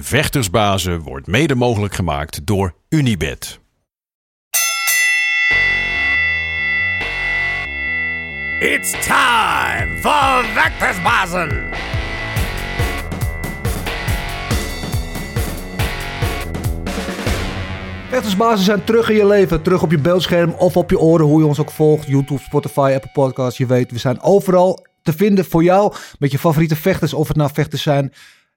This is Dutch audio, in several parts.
Vechtersbazen wordt mede mogelijk gemaakt door Unibed. It's time for Vectorsbazen! Vechtersbazen zijn terug in je leven. Terug op je beeldscherm of op je oren, hoe je ons ook volgt. YouTube, Spotify, Apple Podcasts, je weet. We zijn overal te vinden voor jou met je favoriete vechters. Of het nou vechters zijn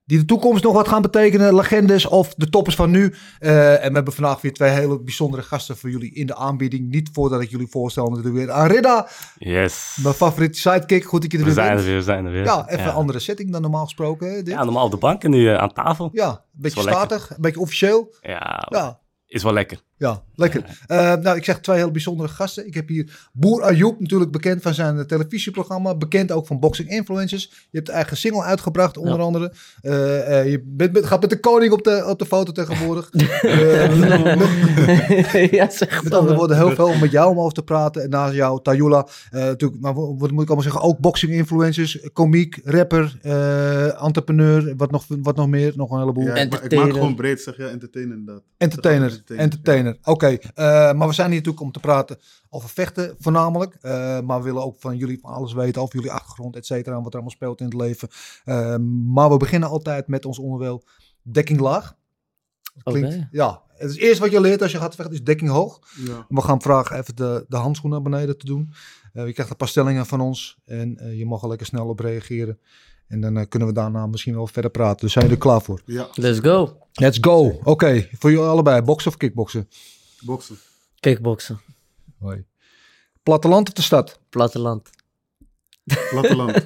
die de toekomst nog wat gaan betekenen. Legendes of de toppers van nu. Eh, en we hebben vandaag weer twee hele bijzondere gasten voor jullie in de aanbieding. Niet voordat ik jullie voorstel natuurlijk weer aan Ridda. Yes. Mijn favoriete sidekick. Goed dat je er We weer zijn bent. er weer, we zijn er weer. Ja, even ja. een andere setting dan normaal gesproken. Hè, dit. Ja, Ja, normaal op de bank en nu eh, aan tafel. Ja. een beetje Is wel lekker. statig. Een beetje officieel. Ja, is wel lekker. Ja, lekker. Eh, nou, ik zeg twee heel bijzondere gasten. Ik heb hier Boer Ayoub, natuurlijk bekend van zijn eh, televisieprogramma. Bekend ook van Boxing Influencers. Je hebt eigen single uitgebracht, onder andere. Eh, eh, je bent, met- gaat met de koning op de, op de foto tegenwoordig. Eh, met- ja, zeg met dan. andere woorden, heel veel om met jou om over te praten. En naast jou, Tayula. eh, natuurlijk, maar wat wat moet ik allemaal zeggen? Ook boxing influencers, komiek, rapper, eh, entrepreneur. Wat nog, wat nog meer? Nog een heleboel. Ja, ik, ma- ik maak Entertainen. gewoon breed, zeg ja, entertainen inderdaad. Entertainer, Entertainer. entertainer. Oké, eh, maar we zijn hier natuurlijk om te praten over vechten voornamelijk. Eh, maar we willen ook van jullie van alles weten, over jullie achtergrond, et cetera. en Wat er allemaal speelt in het leven. Eh, maar we beginnen altijd met ons onderdeel dekking laag. Dat Klinkt, Oké. Ja, het is eerst wat je leert als je gaat vechten is dekking hoog. Ja. We gaan vragen even de, de handschoenen naar beneden te doen. Eh, je krijgt een paar stellingen van ons en eh, je mag er lekker snel op reageren. En dan eh, kunnen we daarna misschien wel verder praten. Dus zijn jullie er klaar voor? ja, Let's go. Let's go. Oké, voor jullie allebei. Boksen of kickboksen? boksen. Kickboksen. Platteland of de stad? Platteland. Platteland.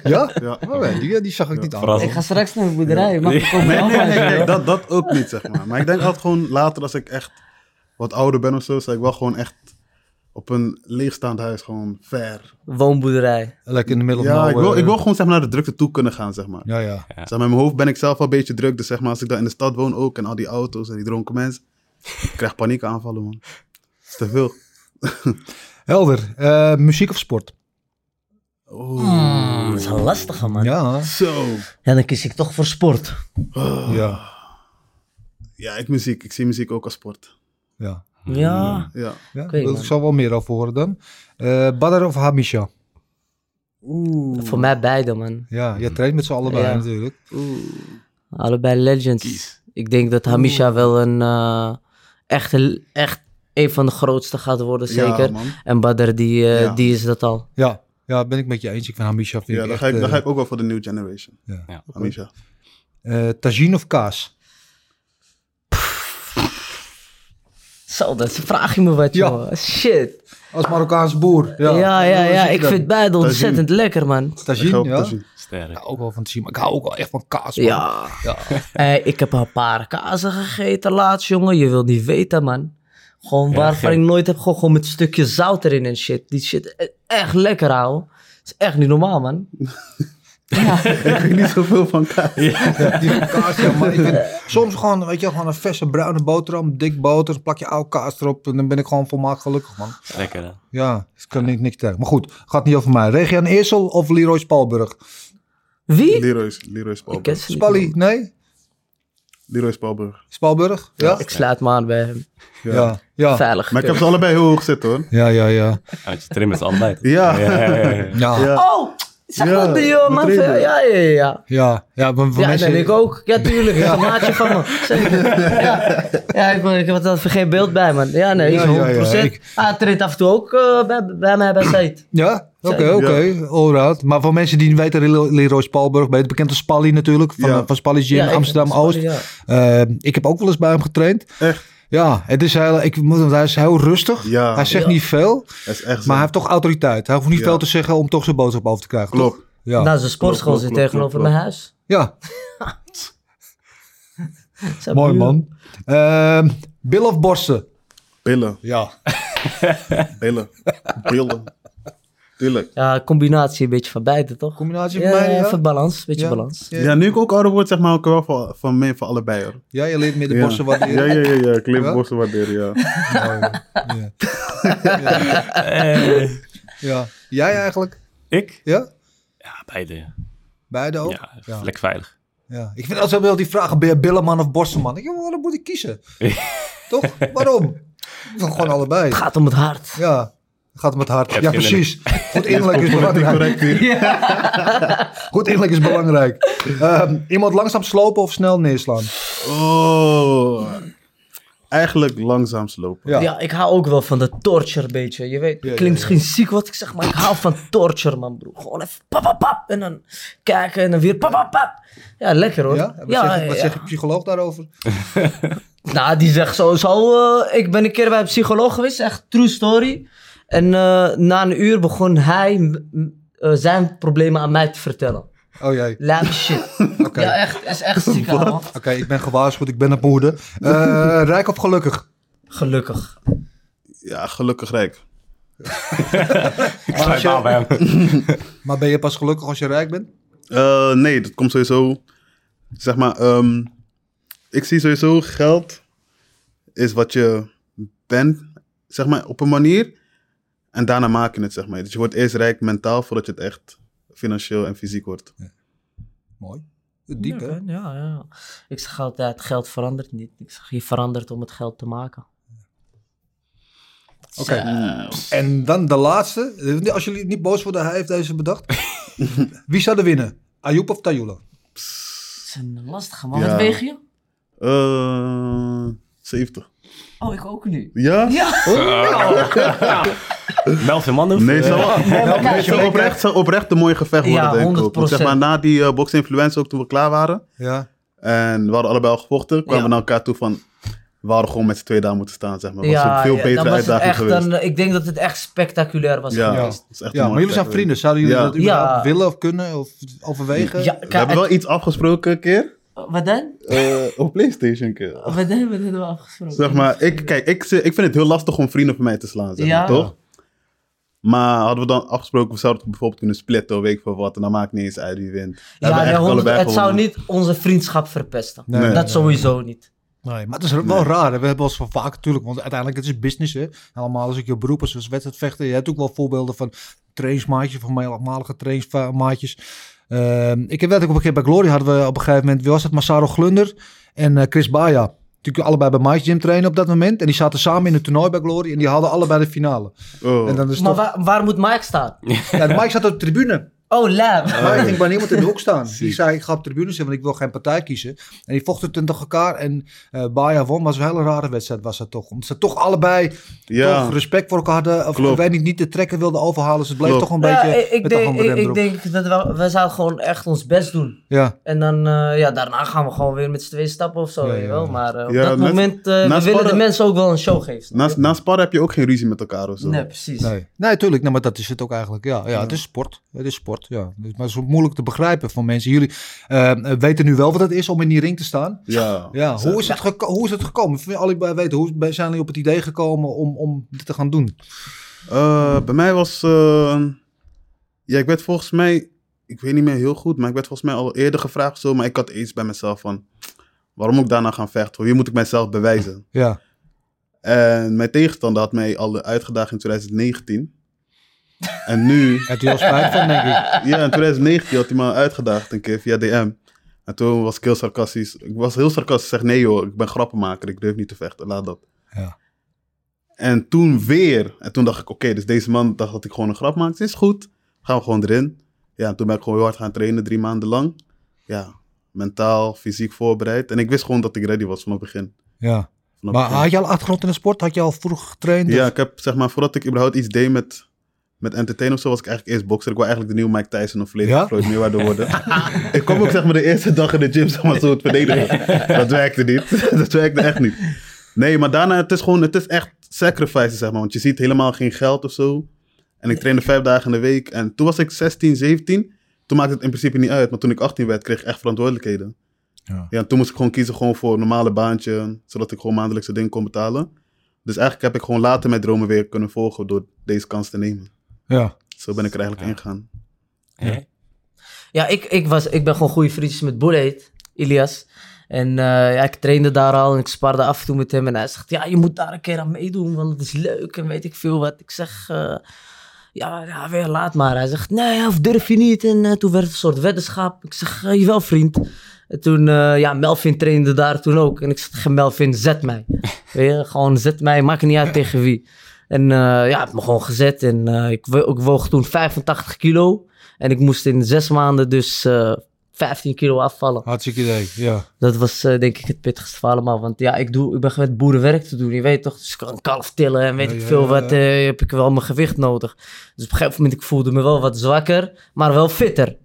Ja? Ja. Oh, die, die zag ik Ja, niet aan. verrassend. Ik ga straks naar mijn boerderij. Mag ik komen? Nee, nee, nee, nee, dat, dat ook niet, zeg maar. Maar ik denk altijd gewoon later, als ik echt wat ouder ben of zo, zou ik wel gewoon echt op een leegstaand huis gewoon ver. Woonboerderij. Lekker in de middel Ja, van ik wil, ik wil gewoon zeg maar, naar de drukte toe kunnen gaan, zeg maar. Ja, ja. Ja. Zeg maar. In mijn hoofd ben ik zelf al een beetje druk, dus zeg maar, als ik dan in de stad woon ook en al die auto's en die dronken mensen, ik krijg paniekaanvallen, man. Dat is te veel. Helder. Eh, muziek of sport? Mm, dat is een lastige, man. Ja. Ja. Zo. dan kies ik toch voor sport. Ja. Ja, ik muziek. Ik zie muziek ook als sport. Ja. Ja. Ja. ja. Ik weet wil Ik niet. zal wel meer over horen dan. Eh Badr of Hamisha? Oeh. Voor mij beide, man. Ja, jij traint met z'n allebei Ja. natuurlijk. Allebei legends. Ik denk dat Hamisha wel een eh, echt, echt een van de grootste gaat worden, Ja, zeker. man. en Badr, die, eh, Ja. die is dat al. Ja. Ja, ben ik met je eens. Ik vind Hamisha vind ik Ja, dan echt... ga, ik, dan eh, ga ik ook wel voor de new generation. Ja. Ja. Amisha. eh, tagine of kaas? Zo, dat vraag je me wat, Ja. joh. Shit. Als Marokkaans boer. Ja, Ja, ja, ja. Hoe zit je Ik dat? vind beide ontzettend lekker, man. Ik ga Tagine, op ja. tagine. Sterk. Ook wel van tagine, maar ik hou ook wel echt van kaas. man. Ja. Eh, ik heb een paar kazen gegeten laatst, jongen. Je wilt niet weten, man. Gewoon waarvan gek. ik nooit heb gegooid. Gewoon met een stukje zout erin en shit. Die shit e- echt lekker, ouwe. Het is echt niet normaal, man. Ik weet niet zoveel van kaas. Die van kaas, ja, maar ik vind, soms gewoon, weet je, wel, gewoon een verse bruine boterham, dik boter, plak je oude kaas erop en dan ben ik gewoon volmaakt gelukkig, man. Lekker, hè? Ja, ik kan niet, niks tegen. Maar goed, gaat niet over mij. Regian Eersel of Leroy Spalburg? Wie? Leroy's, Leroy Ik ken Spalberg. ze niet, Spalli, man. nee? Leroy Spalberg. Spalburg? Ja? Ik sluit me aan bij hem. Ja, ja. Veilig. Maar ik heb ze allebei heel hoog zitten hoor. Ja, ja, ja. Want je trim is allebei. toch? Ja. ja, ja. Ja, Oh! Zeg Ja, dat die, joh, man. betreden. Ja, ja, ja. ja. ja. Ja, maar voor Ja, mensen... ben ik ook. Ja, tuurlijk. Een maatje van me. Zeker. Ja, ja ik, ben- ik heb er geen beeld bij, man. Ja, nee, Ja, is ja, 100%. ja, ik- Ah, treedt af en toe ook eh, bij, bij mij bij Said. Ja? Oké, oké. Alright. Maar voor mensen die niet weten, Leroy- Leroy Spalburg, beter bekend als Spalli natuurlijk, van, Ja. eh, van Spalli Gym Ja, ik- Amsterdam-Oost. Sorry, ja. Eh, ik heb ook wel eens bij hem getraind. Echt? Ja, het is heel, ik, moet- want hij is heel rustig. Ja. Hij zegt Ja. niet veel, Dat is echt zo. maar hij heeft toch autoriteit. Hij hoeft niet Ja. veel te zeggen om toch zijn boodschap over te krijgen. toch? Klopt. Ja. Naast de sportschool Klopt, zit klopt, tegenover klopt, mijn huis. ja, Zijn mooi buren. man. Ehm billen of borsten? Billen, Ja. billen, billen. Tuurlijk. Ja, combinatie een beetje van beide, toch? Combinatie ja, van mij, ja. even balans, een beetje Ja. balans. Ja. Ja, nu ik ook ouder word, zeg maar, hou ik er wel van, van mee van allebei hoor. Ja, je leert meer de Ja. borsten wat Ja, ja, ja, ja. Ik leef Ja? borsten waarderen, ja. Ja. ja. Jij eigenlijk? Ik? Ja? Ja, beide. Beide ook? Ja, lekker veilig. Ja. Ik vind altijd wel die vragen, ben je billenman of borstenman? Ik denk, joh, dan moet ik kiezen. Toch? Waarom? Gewoon allebei. Het gaat om het hart. Ja, gaat om het hart. hebt Ja, geen precies. Goed innerlijk Politiek is belangrijk. correct hier. Goed innerlijk is belangrijk. Ehm, iemand langzaam slopen of snel neerslaan? Oh. Eigenlijk langzaam slopen. Ja. Ja. ik hou ook wel van de torture beetje. Je weet, het ja, klinkt ja. misschien ziek wat ik zeg, maar ik hou van torture, man, broer. Gewoon even pap, pap, pap. En dan kijken en dan weer pap, pap, pap. Ja, lekker hoor. Ja? Ja, En Wat, ja, zegt, wat zegt je psycholoog daarover? Nou, die zegt sowieso... eh ik ben een keer bij een psycholoog geweest, echt true story. En eh, na een uur begon hij m- m- eh, zijn problemen aan mij te vertellen. Oh jee. Lame shit. Oké. Ja, echt. is echt ziek, man. Oké, ik ben gewaarschuwd, ik ben op mijn hoede. Eh, rijk of gelukkig? Gelukkig. Ja, gelukkig rijk. Ik sluit je- aan bij hem. Maar ben je pas gelukkig als je rijk bent? Eh, nee, dat komt sowieso. Zeg maar, ehm, ik zie sowieso geld is wat je bent, zeg maar, op een manier. En daarna maak je het, zeg maar. Dus je wordt eerst rijk mentaal voordat je het echt financieel en fysiek wordt. Mooi. Diep, hè? Ja, ja, ja. Ik zeg altijd, geld verandert niet. Ik zeg, je verandert om het geld te maken. Oké. En dan de laatste. Eh, Als jullie niet boos worden, hij heeft deze bedacht. Wie zou er winnen? Ayoub of Tayula? Het is een lastige man. Ja. Wat weeg je? Eh 70. Oh, ik ook nu. Ja? Ja. Melvin Manhoef. Nee, eh, zo, maar kijk, nee, zo kijk, oprecht, zo oprecht een mooi gevecht Ja, worden, denk ik ook. Want zeg maar, 100%. na die eh, box influence ook, toen we klaar waren... Ja. en we hadden allebei al gevochten, kwamen Ja. we naar elkaar toe van... we hadden gewoon met z'n twee daar moeten staan, zeg maar. Dat was Ja, een veel ja, betere dan was het uitdaging echt geweest. een- ik denk dat het echt spectaculair was Ja, Ja. dat geweest. is echt ja, een maar mooie jullie zijn plek vrienden. Zouden jullie Ja. dat überhaupt Ja. willen of kunnen of overwegen? Ja, geweest. kijk, We hebben wel het- iets afgesproken een keer. Wat dan? eh, op Playstation een keer. Wat dan? Wat hebben we afgesproken? Zeg maar, ik, kijk, ik, ik vind het heel lastig om vrienden van mij te slaan, zeg Ja. maar, toch? Maar hadden we dan afgesproken, we zouden het bijvoorbeeld kunnen splitten, of weet ik veel wat. En dan maakt niet eens uit wie wint. Ja, Hebben we nee, eigenlijk honderd- allebei het zou gewonnen. niet onze vriendschap verpesten. Nee. dat Nee. sowieso niet. Nee, maar het is wel raar. hè. We hebben ons van vaak natuurlijk, want uiteindelijk het is business. Hè? Allemaal als ik je beroep is, als wedstrijdvechter. Je hebt ook wel voorbeelden van trainsmaatjes, van mij langmalige trainsmaatjes. Ehm, ik heb dat ook op een keer bij Glory hadden we op een gegeven moment, wie was het? Masaro Glunder en eh, Chris Baia. Natuurlijk allebei bij Mike's Gym trainen op dat moment. En die zaten samen in het toernooi bij Glory en die hadden allebei de finale. Oh. En dan is Maar toch, waar, waar moet Mike staan? ja, Mike zat op de tribune. Oh, Lab. Maar ik ging bij niemand in de hoek staan. Die zei, ik ga op de tribune zitten, want ik wil geen partij kiezen. En die vochten toen tegen elkaar. En eh Baia won, maar zo'n hele rare wedstrijd was dat toch. Omdat ze toch allebei ja. toch respect voor elkaar hadden. Of Klopt. ik weet niet, niet te trekken wilden overhalen. Dus het bleef Klopt. toch een Ja, beetje ik, ik met de denk, handen ik, rem ik erop. denk dat we, we zouden gewoon echt ons best doen. Ja, En dan, eh, ja, daarna gaan we gewoon weer met z'n tweeën stappen of zo, Ja, weet je ja. wel. Maar eh, op Ja, dat net- moment, eh, we naast willen de sparren- mensen ook wel een show geven. snap Na, je? na sparren heb je ook geen ruzie met elkaar of zo. Nee, precies. nee. Nee, tuurlijk. Nou, maar dat is het ook eigenlijk. Ja, ja, het is sport. Het is sport, ja. Dus- Maar het is moeilijk te begrijpen van mensen. Jullie eh, weten nu wel wat het is om in die ring te staan. Ja. Ja, hoe is het, geko- hoe is het gekomen? Ik wil allebei weten, hoe zijn jullie op het idee gekomen om, om dit te gaan doen? Eh, bij mij was. eh, ja, ik werd volgens mij. Ik weet niet meer heel goed, maar ik werd volgens mij al eerder gevraagd zo. Maar ik had iets bij mezelf van. Waarom moet ik daarna gaan vechten? hoor? Hier moet ik mijzelf bewijzen. Ja, En mijn tegenstander had mij al uitgedaagd in 2019. En nu. heb je wel spijt van, denk ik. Ja, in 2019 had hij me al uitgedaagd een keer via DM. En toen was ik heel sarcastisch. Ik was heel sarcastisch. Ik zeg, nee joh, ik ben grappenmaker. Ik durf niet te vechten. Laat dat. Ja. En toen weer. En toen dacht ik, oké, dus deze man dacht dat ik gewoon een grap maakte. Is goed. Gaan we gewoon erin. Ja, en toen ben ik gewoon heel hard gaan trainen. Drie maanden lang. Ja, mentaal, fysiek voorbereid. En ik wist gewoon dat ik ready was vanaf het begin. Ja. Vanaf Maar het begin. had je al achtergrond in de sport? Had je al vroeg getraind? Ja, ik heb zeg maar, voordat ik überhaupt iets deed met, met entertainen of zo, was ik eigenlijk eerst bokser. Ik wou eigenlijk de nieuwe Mike Tyson of Floyd, Ja? Floyd Mayweather worden. ik kwam ook zeg maar de eerste dag in de gym zeg maar, zo het verdedigen. Dat werkte niet. dat werkte echt niet. Nee, maar daarna, het is gewoon, het is echt sacrifice, zeg maar. Want je ziet helemaal geen geld of zo. En ik trainde vijf dagen in de week. En toen was ik 16, 17. Toen maakte het in principe niet uit. Maar toen ik 18 werd, kreeg ik echt verantwoordelijkheden. Ja. Ja, en toen moest ik gewoon kiezen gewoon voor een normale baantje. Zodat ik gewoon maandelijks het ding kon betalen. Dus eigenlijk heb ik gewoon later mijn dromen weer kunnen volgen door deze kans te nemen. Ja. Zo ben ik er eigenlijk ingegaan. hè? Ja, ik, ik, was, ik ben gewoon goede vriendjes met Bullet, Ilias. En eh, ja, ik trainde daar al en ik sparde af en toe met hem. En hij zegt, ja, je moet daar een keer aan meedoen, want het is leuk en weet ik veel wat. Ik zeg, eh, ja, ja, weer laat maar. Hij zegt, nee, of durf je niet. En eh, toen werd het een soort weddenschap. Ik zeg, eh, jawel vriend. En toen, eh, ja, Melvin trainde daar toen ook. En ik zei tegen Melvin, zet mij. Weet je, gewoon zet mij, maakt niet uit tegen wie. En eh, ja, het me gewoon gezet. En eh, ik, wo- ik woog toen 85 kilo. En ik moest in zes maanden dus eh, 15 kilo afvallen. Hartstikke idee, ja. Dat was eh, denk ik het pittigste van allemaal. Want ja, ik, doe, ik ben gewend boerenwerk te doen. Je weet toch, dus ik kan een kalf tillen en weet Ja, ik ja, veel ja, wat. eh, heb ik wel mijn gewicht nodig. Dus op een gegeven moment ik voelde me wel wat zwakker, maar wel fitter.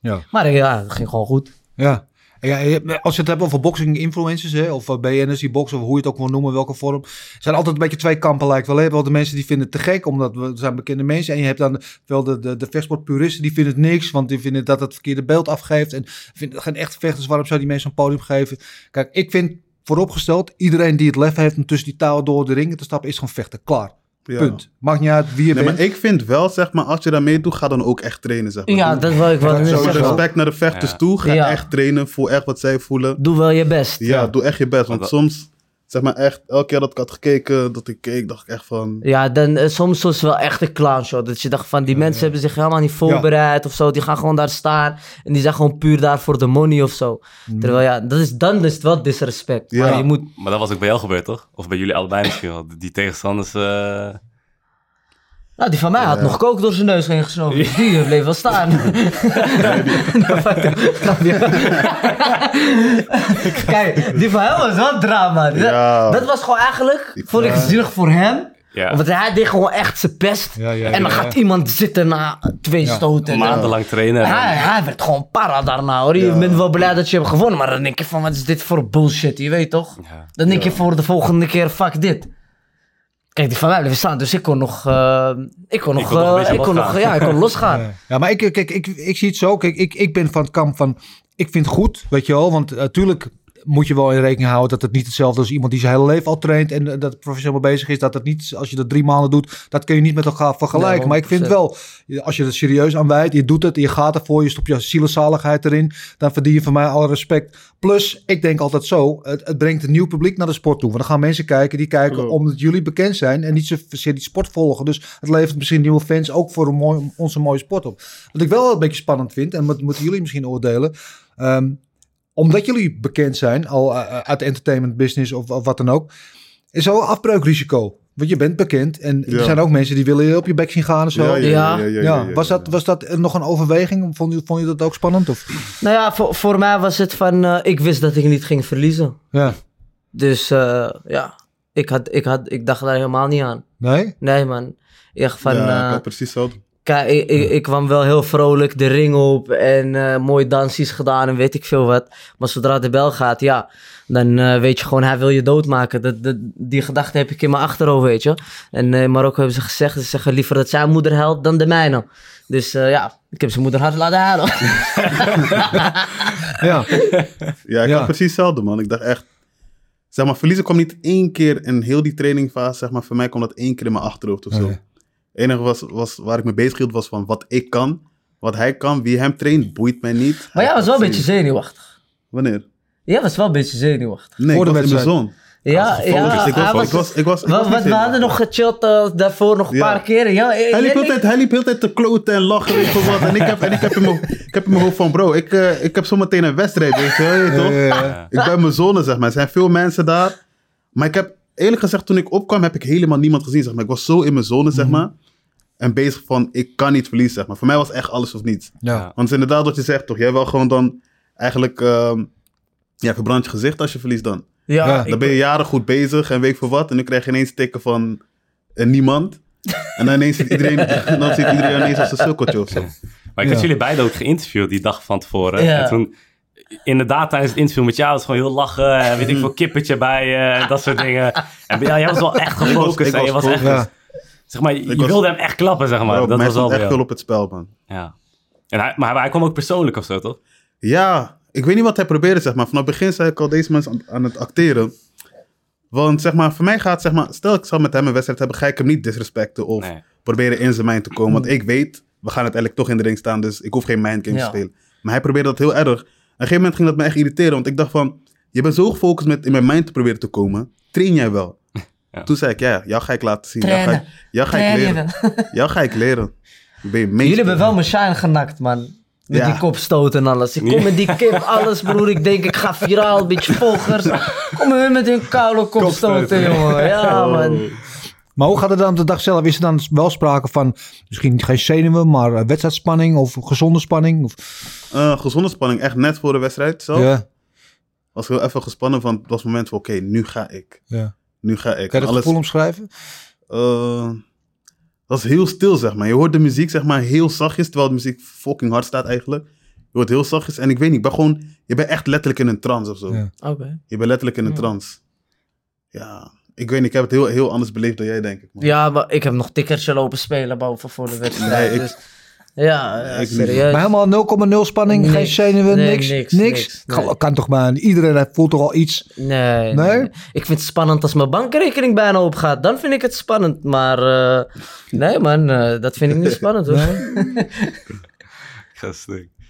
Ja. Maar eh, ja, het ging gewoon goed. Ja. En ja, je hebt- als je het hebt over boxing-influencers, hè, of eh, BN'ers die boksen, of hoe je het ook wil noemen, welke vorm, zijn altijd een beetje twee kampen lijkt wel. hè. Je hebt wel de mensen die vinden het te gek, omdat we het zijn bekende mensen. En je hebt dan wel de, de, de vechtsportpuristen, die vinden het niks, want die vinden dat het verkeerde beeld afgeeft. En vinden het geen echte vechters, waarom zou die mensen een podium geven? Kijk, ik vind vooropgesteld, iedereen die het lef heeft om tussen die touwen door de ringen te stappen, is gewoon vechten. Klaar. Ja. Punt. Maakt niet uit wie je Nee, bent. maar ik vind wel, zeg maar, als je daarmee doet, ga dan ook echt trainen, zeg maar. Ja, Doe- dat wil ik wel Ja, net sowieso. Met zeggen. respect naar de vechters Ja. toe, ga Ja. echt trainen, voel echt wat zij voelen. Doe wel je best. Ja, doe echt je best. Want Wat- soms, zeg maar echt, elke keer dat ik had gekeken, dat ik keek, dacht ik echt van... Ja, dan eh, soms was het wel echt een clownshow. Dat je dacht van, die mensen hebben zich helemaal niet voorbereid of zo. Die gaan gewoon daar staan en die zijn gewoon puur daar voor de money of zo. Mm. Terwijl ja, dat is, dan is het wel disrespect. Ja. Maar je moet... Maar dat was ook bij jou gebeurd, toch? Of bij jullie allebei misschien wel. Die tegenstanders... eh, Nou, die van mij had nog kook door zijn neus heen gesnoven. Die bleef wel staan. Nou, fuck hem. Snap je? Kijk, die van hem was wel drama. Dat- Ja. Dat was gewoon eigenlijk, vond ik zielig voor hem. ja, Want hij deed gewoon echt zijn best. Ja, ja, en dan ja, gaat ja. iemand zitten na twee Ja. stoten. maandenlang trainen. en dan- Hij, hij werd gewoon para daarna hoor. Je bent wel blij dat je hebt gewonnen, maar dan denk je van wat is dit voor bullshit, je weet toch? Ja. Dan denk je voor de volgende keer fuck dit. Kijk, die van mij bleef staan, dus ik kon nog, eh, ik kon nog, kon nog een eh, beetje ik kon nog, losgaan. ja, ik kon losgaan. Ja, Ja, maar ik, kijk, ik, ik zie het zo. Kijk, ik, ik ben van het kamp van, ik vind het goed, weet je wel. Want natuurlijk moet je wel in rekening houden dat het niet hetzelfde is als iemand die zijn hele leven al traint en eh, dat professioneel mee bezig is. Dat het niet, als je dat drie maanden doet, dat kun je niet met elkaar vergelijken. Nee, maar ik vind wel, je- als je het serieus aanwijdt, je doet het, je gaat ervoor, je stopt je zielenzaligheid erin, dan verdien je van mij alle respect. Plus, ik denk altijd zo, het, het brengt een nieuw publiek naar de sport toe. Want dan gaan mensen kijken, die kijken Klopt. omdat jullie bekend zijn en niet zozeer die sport volgen. Dus het levert misschien nieuwe fans ook voor een mooi, onze mooie sport op. Wat ik wel een beetje spannend vind, en dat moeten jullie misschien oordelen. ehm, omdat jullie bekend zijn, al eh, eh, uit de entertainment business of, of wat dan ook, is er wel een afbreukrisico. Want je bent bekend en er Ja. zijn ook mensen die willen je op je bek zien gaan en zo. Ja, Ja. was, dat, was dat eh, nog een overweging? Vond je, vond je dat ook spannend? Of? Nou ja, voor, voor mij was het van, eh, ik wist dat ik niet ging verliezen. Ja. Dus eh, ja, ik, had, ik, had, ik dacht daar helemaal niet aan. Nee? Nee man, echt van... ja, ik eh, had precies zo. Kijk, ik, ik, ik kwam wel heel vrolijk de ring op en eh mooie dansjes gedaan en weet ik veel wat. Maar zodra de bel gaat, ja, dan eh, weet je gewoon, hij wil je doodmaken. Dat, dat, die gedachte heb ik in mijn achterhoofd, weet je. En eh, in Marokko hebben ze gezegd, ze zeggen liever dat zijn moeder helpt dan de mijne. Dus eh, ja, ik heb zijn moeder hard laten halen. Ja. Ja, ik Ja. had precies hetzelfde, man. Ik dacht echt... Zeg maar, verliezen kwam niet één keer in heel die trainingfase. Zeg maar, voor mij kwam dat één keer in mijn achterhoofd of zo. Oké. Het enige was, was, waar ik mee bezig hield was van wat ik kan. Wat hij kan, wie hem traint, boeit mij niet. Maar jij Hij was wel gaat een beetje zien. zenuwachtig. Wanneer? Jij was wel een beetje zenuwachtig. Nee, Voor ik de was in mijn wedstrijd. zon. Ja, ja. Focus. Ik hij was- was- ik was- ik was- ik was Wat, niet wat we hadden nog gechillt eh, daarvoor nog een Ja. paar keren. Ja, eh, Hij liep, jij- altijd, hij liep heel tijd te kloten en lachen, weet je wat. En ik heb, en ik heb, in, mijn, ik heb in mijn hoofd van, bro, ik, eh, ik heb zometeen een wedstrijd, weet je, wel, je toch? Ik ben in mijn zone, zeg maar. Er zijn veel mensen daar. Maar ik heb, eerlijk gezegd, toen ik opkwam, heb ik helemaal niemand gezien, zeg maar. Ik was zo in mijn zone, Mhm. zeg maar. En bezig van, ik kan niet verliezen, zeg maar. Voor mij was echt alles of niets. Ja. Want het is inderdaad wat je zegt, toch? Jij wil gewoon dan eigenlijk, ehm, ja, verbrand je gezicht als je verliest dan. Ja, Ja, ik- Dan ben je jaren goed bezig en weet ik voor wat. En nu krijg je ineens tikken van eh, niemand. En dan ineens ziet iedereen, dan ziet iedereen ineens als een sukkeltje of zo. Maar ik had Ja. jullie beiden ook geïnterviewd die dag van tevoren. Ja. En toen, inderdaad, tijdens het interview met jou was het gewoon heel lachen. En weet ik veel, kippertje bij je, en dat soort dingen. En bij jou, jij was wel echt gefocust. ik hè. je was was cool. echt, Ja. zeg maar, je was- wilde hem echt klappen, zeg maar. Bro, dat mij was stond al bij echt veel jou. op het spel, man. Ja. En hij, maar hij, hij kwam ook persoonlijk of zo, toch? Ja, ik weet niet wat hij probeerde, zeg maar. Vanaf het begin zei ik al, deze mensen aan, aan het acteren. Want zeg maar, voor mij gaat, zeg maar, stel ik zou met hem een wedstrijd hebben, ga ik hem niet disrespecten of Nee. proberen in zijn mind te komen. Want ik weet, we gaan uiteindelijk toch in de ring staan, dus ik hoef geen mindgame Ja. te spelen. Maar hij probeerde dat heel erg. Op een gegeven moment ging dat me echt irriteren, want ik dacht van, je bent zo gefocust met in mijn mind te proberen te komen, train jij wel. Ja. Toen zei ik, ja, jou ga ik laten zien. Jou ga ik, Trainen. jou ga ik Trainen. leren. Jou ga ik leren. Ben je meester. Jullie hebben wel mijn shine genakt, man. Met Ja. die kopstoot en alles. Ik kom met die kip, alles broer. Ik denk, ik ga viraal, een beetje volgers. Kom hun met hun koude kopstoten, jongen. Ja, Oh. man. Maar hoe gaat het dan op de dag zelf? Is er dan wel sprake van misschien geen zenuwen, maar eh, wedstrijdspanning of gezonde spanning? Of, Eh, gezonde spanning, echt net voor de wedstrijd zelf. ja, Was ik heel even gespannen van, dat was het moment van, oké, nu ga ik. ja. Nu ga ik. Kan je dat Alles- gevoel omschrijven? eh, dat is heel stil, zeg maar. Je hoort de muziek, zeg maar, heel zachtjes, terwijl de muziek fucking hard staat eigenlijk. Je hoort heel zachtjes en ik weet niet, ik ben gewoon, je bent echt letterlijk in een trance of zo. Ja. Oké. Je bent letterlijk in een trance. Ja, ik weet niet, ik heb het heel, heel anders beleefd dan jij, denk ik. man. Ja, maar ik heb nog tikkertje lopen spelen boven voor de wedstrijd. Nee, ik- dus, ja, ja, ik niet. serieus. Maar helemaal 0,0 spanning, geen Dus- Niks. zenuwen, Nee, niks, niks, niks. niks, Kan, nee. kan toch maar, iedereen hij voelt toch al iets. Nee, nee, Nee? nee. Ik vind het spannend als mijn bankrekening bijna opgaat. Dan vind ik het spannend. Maar eh, nee, man, eh, dat vind ik niet spannend hoor.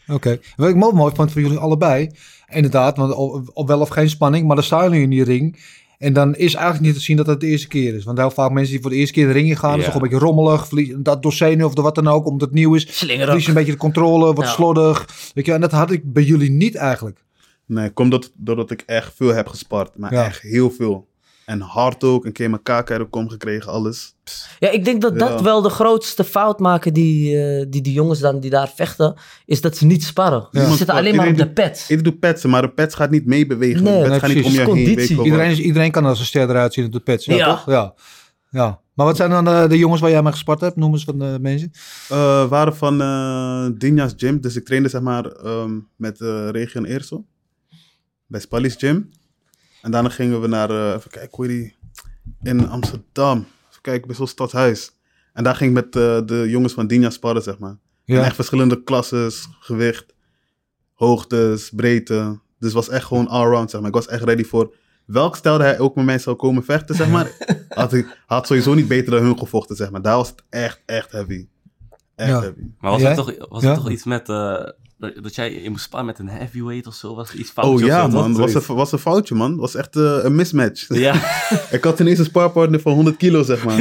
Oké. Wat ik ook mooi vond voor jullie allebei, inderdaad, want op, op wel of geen spanning, maar dan staan jullie in die ring. En dan is eigenlijk niet te zien dat het de eerste keer is. Want heel vaak mensen die voor de eerste keer de ring in gaan, Ja. is toch een beetje rommelig, verlie- dat door zenuw of door wat dan ook, omdat het nieuw is. Slinger Verlies je een beetje de controle, wordt Ja. slordig. Weet je, en dat had ik bij jullie niet eigenlijk. Nee, komt dat, doordat ik echt veel heb gespart. Maar Ja. echt heel veel. En hard ook, een keer mijn kaak uit de kom gekregen, alles. Ja, ik denk dat dat Ja. wel de grootste fout maken die, eh, die die jongens dan die daar vechten, is dat ze niet sparren. Ze Niemand zitten spart. alleen maar op de Iedereen pet. Ik doe petsen, maar de pets gaat niet meebewegen. Nee, de pets nee, gaat niet om precies. je heen. Conditie. weet ik wel wat. Iedereen, is, iedereen kan als een ster eruit zien op de pets. Ja, Ja. toch? Ja. ja. Maar wat zijn dan eh, de jongens waar jij mee gespart hebt? Noem eens van de mensen. Eh, waren van eh Dinja's Gym. Dus ik trainde zeg maar ehm, met eh Region Eersel. Bij Spally's Gym. En daarna gingen we naar, eh, even kijken hoe heet die, in Amsterdam. Even kijken, bij zo'n stadhuis. En daar ging ik met eh, de jongens van Dinja sparren, zeg maar. En Ja. echt verschillende klasses, gewicht, hoogtes, breedte. Dus was echt gewoon allround, zeg maar. Ik was echt ready voor welk stijl hij ook met mij zou komen vechten, zeg maar. had, ik, had sowieso niet beter dan hun gevochten, zeg maar. Daar was het echt, echt heavy. Echt Ja. heavy. Maar was Jij? er toch, was Ja? er toch iets met... eh, dat dat jij je moest spannen met een heavyweight of zo? Was er iets fout? Oh ja, man. Was een, was een foutje, man. Was echt eh, een mismatch. Ja, ik had ineens een spaarpartner van 100 kilo, zeg maar.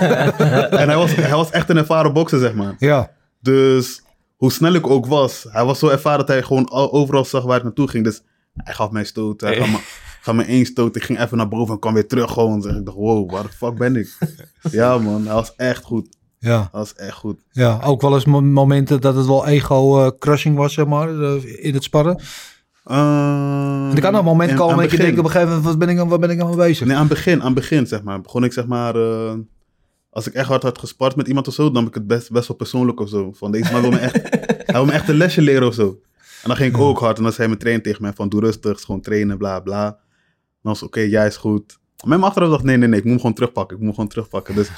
en hij was, hij was echt een ervaren bokser, zeg maar. Ja. Dus hoe snel ik ook was, hij was zo ervaren dat hij gewoon al- overal zag waar ik naartoe ging. Dus hij gaf mij stoten, hij gaf me, gaf me één stoot. Ik ging even naar boven en kwam weer terug gewoon. Zeg ik dacht, wow, waar de fuck ben ik? ja man, hij was echt goed. Ja. Hij was echt goed. ja. Ook wel eens mo- momenten dat het wel ego-crushing was, zeg maar, eh, in het sparren. Ehm, Want er kan een moment Mm, en komen aan dat je begin- denkt op een gegeven moment, wat ben ik, aan- waar ben ik aan bezig? Nee, aan het begin, aan het begin zeg maar. Begon ik zeg maar, eh, als ik echt hard had gespart met iemand of zo, nam ik het best, best wel persoonlijk of zo. Van deze man wil me echt, hij wil me echt een lesje leren of zo. En dan ging ik ook hard en dan zei mijn trainer tegen mij van doe rustig, is gewoon trainen, bla bla. En dan was het, oké, jij is goed. Maar mijn achteraf dacht nee, nee, nee, ik moet hem gewoon terugpakken, ik moet hem gewoon terugpakken. Dus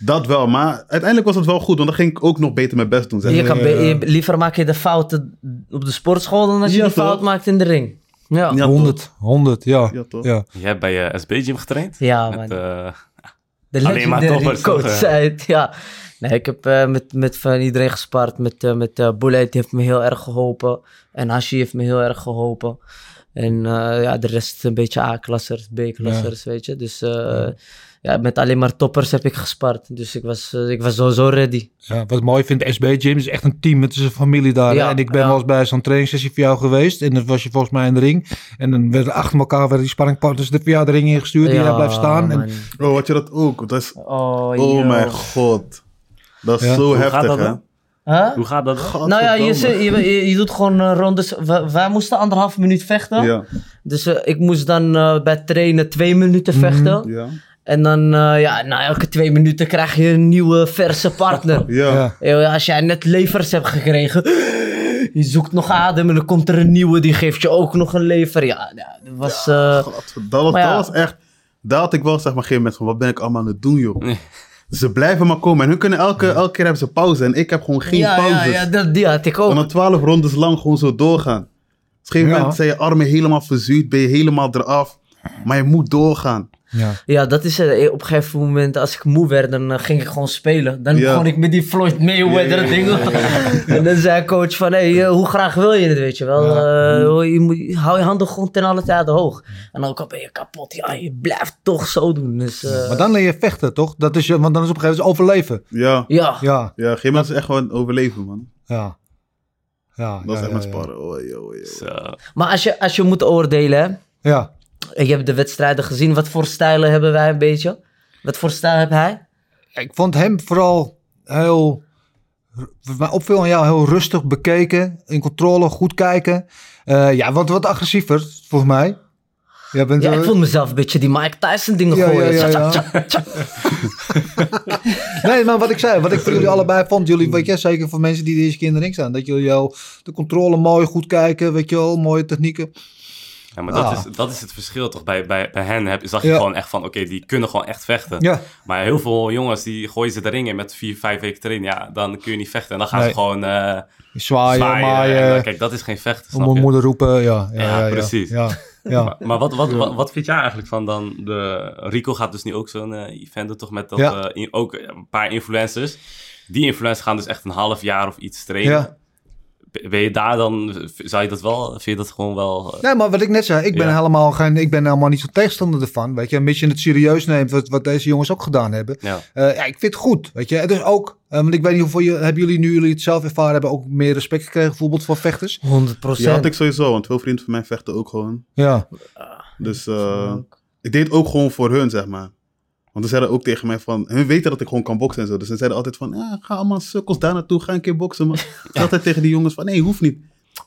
dat wel, maar uiteindelijk was het wel goed, want dan ging ik ook nog beter mijn best doen. Zeg. Je maar. kan be- je- liever maak je de fouten op de sportschool dan als je Ja, die fout toch? maakt in de ring. Ja, ja, Ja, 100, 100, ja. Ja, toch? ja. jij hebt bij eh, je SB-gym getraind? man. Met, eh, de alleen maar legendary toppers, coach toch, eh? zei het, ja. Nee, ik heb eh, met, met van iedereen gespart. Met, eh, met eh Bullet, die heeft me heel erg geholpen. En Hashi heeft me heel erg geholpen. En eh, ja, de rest een beetje A-klassers, B-klassers, weet je. Dus eh, ja, met alleen maar toppers heb ik gespart. Dus ik was, eh, ik was sowieso ready. Ja, wat ik mooi vind, de SB Gym is echt een team. Het is een familie daar. hè. Ja, en ik ben ja. wel eens bij zo'n trainingssessie voor jou geweest. En dan was je volgens mij in de ring. En dan werden achter elkaar werden die sparringpartners de, voor jou de ring ingestuurd. die ja, en jij blijft staan. En, man. Oh, had je dat ook? Dat is, Oh, oh joh. mijn god. Dat is Ja. zo gaat heftig, dat hè? dan? Huh? hoe gaat dat? Nou ja, je, Gadverdamme. zit- je, je, je doet gewoon eh, rondes. We- wij moesten anderhalf minuut vechten. Ja, Dus eh, ik moest dan eh, bij trainen twee minuten vechten. ja, En dan, eh, ja, na elke twee minuten krijg je een nieuwe verse partner. ja. ja. Eeuw, ja, Als jij net levers hebt gekregen, je zoekt nog adem en dan komt er een nieuwe, die geeft je ook nog een lever. Ja, ja, dat was... eh, Gadver- Dat was, Maar ja. dat was echt. Daar had ik wel zeg maar geen mensen van wat ben ik allemaal aan het doen, joh. Nee. Ze blijven maar komen. En hun kunnen elke, elke keer hebben ze pauze. En ik heb gewoon geen ja, pauzes. ja, ja, dat, die had ik En ook. dan twaalf rondes lang gewoon zo doorgaan. Op een gegeven Ja. moment zijn je armen helemaal verzuurd, ben je helemaal eraf. Maar je moet doorgaan. ja. Ja, dat is het. Op een gegeven moment, als ik moe werd, dan eh, ging ik gewoon spelen. Dan Ja. begon ik met die Floyd Mayweather dingen. En dan zei coach van, hey, eh, hoe graag wil je het, weet je wel. Eh, Mhm. hoor, je moet, hou je handen gewoon ten alle tijde hoog. En ook al ben je kapot, ja, je blijft toch zo doen. Dus, eh, Maar dan leer je vechten, toch? Dat is, je- want dan is op een gegeven moment overleven. Ja, ja. ja. Ja, op een gegeven moment is echt gewoon overleven, man. ja. Ja, Dat is ja, echt ja, met ja. sparren. Oei, oei, oei. Zo. Maar als je, als je moet oordelen, hè, Ja. en je hebt de wedstrijden gezien, wat voor stijlen hebben wij een beetje? Wat voor stijl heb hij? Ik vond hem vooral heel. Wat mij opviel aan jou, heel rustig bekeken. In controle, goed kijken. Eh, ja, wat, wat agressiever, volgens mij. eh, Jij bent Ja, wel- ik voel mezelf een beetje die Mike Tyson dingen Ja, ja, gooien. ja, ja. Tja, tja, tja, tja. Nee, maar wat ik zei, wat ik voor jullie allebei vond, jullie, weet je, zeker voor mensen die de eerste keer in de ring staan, dat jullie jou de controle mooi goed kijken, weet je wel, mooie technieken. Ja, maar dat, Ah. is, dat is het verschil toch? Bij, bij, bij hen heb, zag je Ja. gewoon echt van, oké, die kunnen gewoon echt vechten. Ja, Maar heel veel jongens die gooien ze de ring in met vier, vijf weken training. Ja, dan kun je niet vechten. En dan gaan Nee. Ah, ze gewoon eh zwaaien, zwaaien. En dan- maaien, kijk, dat is geen vechten, eh, om snap mijn je? moeder roepen, ja. Ja, Ja, ja, ja. precies. Ja, ja. Maar, maar wat, wat, wat, wat vind jij eigenlijk van dan? De, Rico gaat dus nu ook zo'n eh, event doen, toch? Met dat, Ja. eh, in- ook een paar influencers. Die influencers gaan dus echt een half jaar of iets trainen. Ja. B- Ben je daar dan, zou je dat wel, vind je dat gewoon wel... eh, Nee, maar wat ik net zei, ik ben Ja. helemaal geen, ik ben helemaal niet zo tegenstander ervan, weet je. Een beetje het serieus neemt, wat, wat deze jongens ook gedaan hebben. ja. Eh, ja, ik vind het goed, weet je. Het is ook, eh, want ik weet niet hoeveel je, hebben jullie nu jullie het zelf ervaren hebben, ook meer respect gekregen bijvoorbeeld voor vechters? 100 Die had procent. ik sowieso, want veel vrienden van mij vechten ook gewoon. Ja, Dus eh, ik deed het ook gewoon voor hun, zeg maar. Want ze zeiden ook tegen mij van, hun weten dat ik gewoon kan boksen en zo. Dus ze zeiden altijd van, eh, ga allemaal sukkels daar naartoe, ga een keer boksen. Maar ik zei altijd tegen die jongens van, nee, hoeft niet.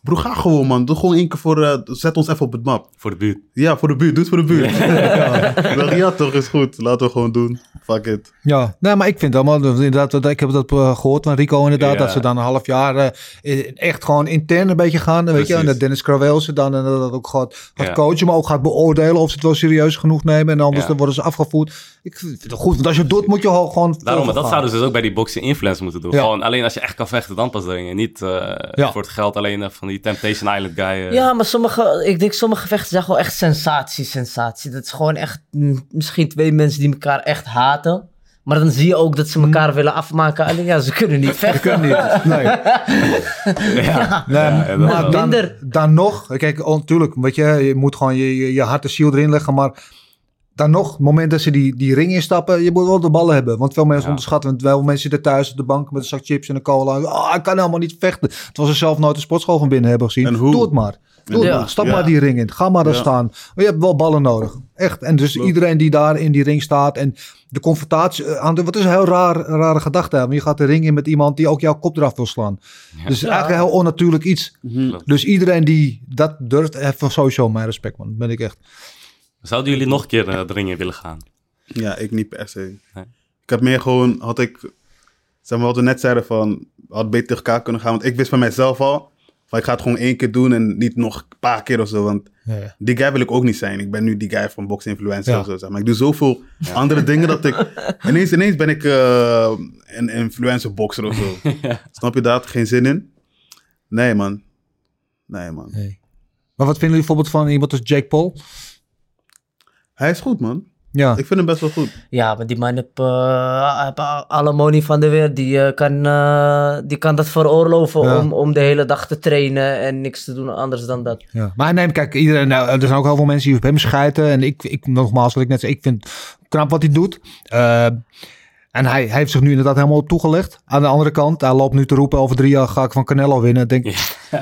Broer, ga gewoon man, doe gewoon één keer voor, eh, zet ons even op het map. Voor de buurt. Ja, voor de buurt, doe het voor de buurt. Ja, Ik dacht, ja toch, is goed, laten we gewoon doen. Fuck it. ja. Nee, maar ik vind het allemaal, inderdaad, dat- ik heb dat eh, gehoord van Rico inderdaad, Ja. dat ze dan een half jaar eh, echt gewoon intern een beetje gaan, weet je. Precies. En dat Dennis Krawel ze dan en dat dat ook gaat, gaat Ja. coachen, maar ook gaat beoordelen of ze het wel serieus genoeg nemen en anders Ja. dan worden ze afgevoerd. Ik vind het goed, want als je het doet, moet je gewoon... Daarom, maar dat gaan. zouden ze dus ook bij die boxing influence moeten doen. Ja. Gewoon alleen als je echt kan vechten, dan pas erin. En niet eh, Ja. voor het geld alleen eh, van die Temptation Island guy. eh. Ja, maar sommige, ik denk sommige gevechten zijn gewoon echt sensatie, sensatie. Dat is gewoon echt mm, misschien twee mensen die elkaar echt haten. Maar dan zie je ook dat ze elkaar willen afmaken. Alleen ja, ze kunnen niet vechten. Kan niet, nee. Ja. Nee, en dat maar wel. dan, Minder. dan nog, kijk, oh, natuurlijk, weet je, je moet gewoon je, je, je hart en ziel erin leggen, maar dan nog, het moment dat ze die, die ring instappen, je moet wel de ballen hebben. Want veel mensen Ja. onderschatten, want wel mensen zitten thuis op de bank met een zak chips en een cola. Ah, ik kan helemaal niet vechten. Terwijl ze zelf nooit de sportschool van binnen hebben gezien. En hoe? Doe het maar. Doe het Ja. maar. Stap Ja. maar die ring in. Ga maar daar Ja. staan. Maar je hebt wel ballen nodig. Echt. En dus Klopt. iedereen die daar in die ring staat en de confrontatie eh, aan de, Wat is een heel raar, rare gedachte. hè? Want je gaat de ring in met iemand die ook jouw kop eraf wil slaan. Dus het is eigenlijk een heel onnatuurlijk iets. Mhm. Dus iedereen die dat durft, heeft sowieso mijn respect, man. Dat ben ik echt. Zouden jullie nog een keer eh, dringen willen gaan? Ja, ik niet per se. Nee. Ik had meer gewoon, had ik, zeg maar wat we net zeiden van, had beter tegen elkaar kunnen gaan. Want ik wist van mijzelf al, van ik ga het gewoon één keer doen en niet nog een paar keer of zo. Want Ja, die guy wil ik ook niet zijn. Ik ben nu die guy van box influencer Ja. of zo. Zeg maar ik doe zoveel andere dingen dat ik, ineens, ineens ben ik eh, een influencer boxer of zo. Snap je dat? Geen zin in? Nee man. Nee man. nee. Maar wat vinden jullie bijvoorbeeld van iemand als Jake Paul? Hij is goed man. Ja, Ik vind hem best wel goed. Ja, maar die man heeft, eh, heeft alle money van de wereld. Die, eh, kan, eh, die kan dat veroorloven Ja. om, om de hele dag te trainen en niks te doen anders dan dat. ja. maar neem, kijk, iedereen, nou, er zijn ook heel veel mensen die op hem schijten. En ik, ik nogmaals, wat ik net zei, ik vind knap wat hij doet. Eh, en hij, hij heeft zich nu inderdaad helemaal op toegelegd. Aan de andere kant, hij loopt nu te roepen, over drie jaar ga ik van Canelo winnen. Ik Denk,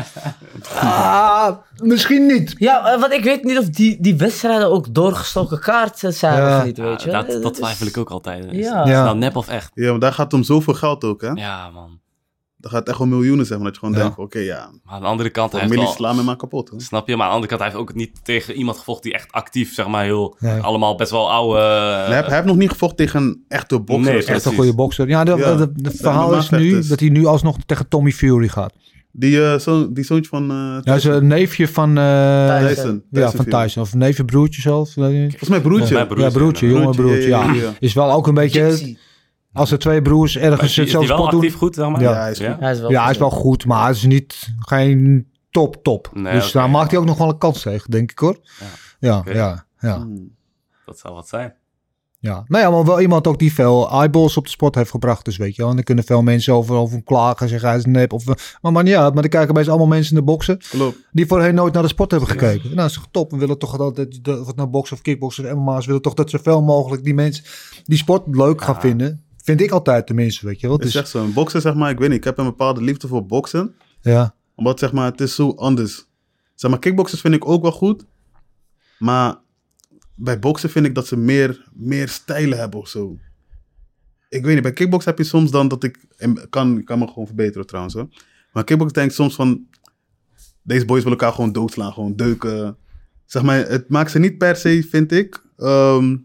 ah, misschien niet. Ja, eh, want ik weet niet of die, die wedstrijden ook doorgestoken kaarten zijn Ja. of niet, weet je. Eh, Ja, dat, dat is- twijfel ik ook altijd. Is, Ja. is Ja. nou nep of echt? Ja, maar daar gaat het om zoveel geld ook hè. Ja, man. Daar gaat het echt om miljoenen zeg maar. Dat je gewoon Ja. denkt, van, oké ja, Maar aan de andere kant, hij familie heeft wel- slaan me maar kapot. Hè? Snap je? Maar aan de andere kant, hij heeft ook niet tegen iemand gevochten die echt actief, zeg maar, heel... Nee. Allemaal best wel oude... eh, hij, heeft, hij heeft nog niet gevochten tegen een echte bokser. Nee, of zo. Echt een Precies. goede bokser. Ja, dat- Ja, dus. dat- dat- dat het zijn verhaal is nu normaalvechters. dat hij nu alsnog tegen Tommy Fury gaat. Die, eh, zoon- die zoontje van eh, Ja, hij is een neefje van... eh, Tyson. Tyson. Ja, van Fury. Tyson. Of neefje, broertje zelf. weet je niet. Volgens mij broertje. Volgens mij ja, broertje, ja. jonge broertje. Broertje, Ja, ja, ja, ja. Is wel ook een beetje... Gypsy. Als er twee broers Maar ergens is die, het is die zo wel spot doen... actief goed, zeg maar? Ja. Ja, hij is goed. Hij is wel Ja, hij is wel goed, maar hij is niet... Geen top, top. Nee, dus oké. daar maakt hij ook nog wel een kans tegen, denk ik hoor. Ja, ja, ja. ja. Hmm. Dat zou wat zijn. Nou ja, maar wel iemand ook die veel eyeballs op de sport heeft gebracht. Dus weet je wel. En dan kunnen veel mensen over, over hem klagen, zeggen hij is nep. Of, eh, maar maar ja, maar dan kijken bij allemaal mensen in de boksen. Klopt. die voorheen nooit naar de sport hebben gekeken. Nou, dat is toch top. We willen toch dat, dat, dat- of het nou boksen of kickboksen of MMA's, willen toch dat zoveel mogelijk die mensen die sport leuk gaan vinden. Vind ik altijd tenminste, weet je wel. Het is Dus, echt zo'n boksen, zeg maar. Ik weet niet, ik heb een bepaalde liefde voor boksen. ja, Omdat zeg maar, het is zo anders. Zeg maar, kickboxers vind ik ook wel goed. Maar bij boksen vind ik dat ze meer, meer stijlen hebben of zo. Ik weet niet, bij kickbox heb je soms dan dat ik... en kan, ik kan me gewoon verbeteren trouwens hoor. Maar kickbox denk ik soms van... Deze boys willen elkaar gewoon doodslaan, gewoon deuken. Zeg maar, het maakt ze niet per se, vind ik, ehm,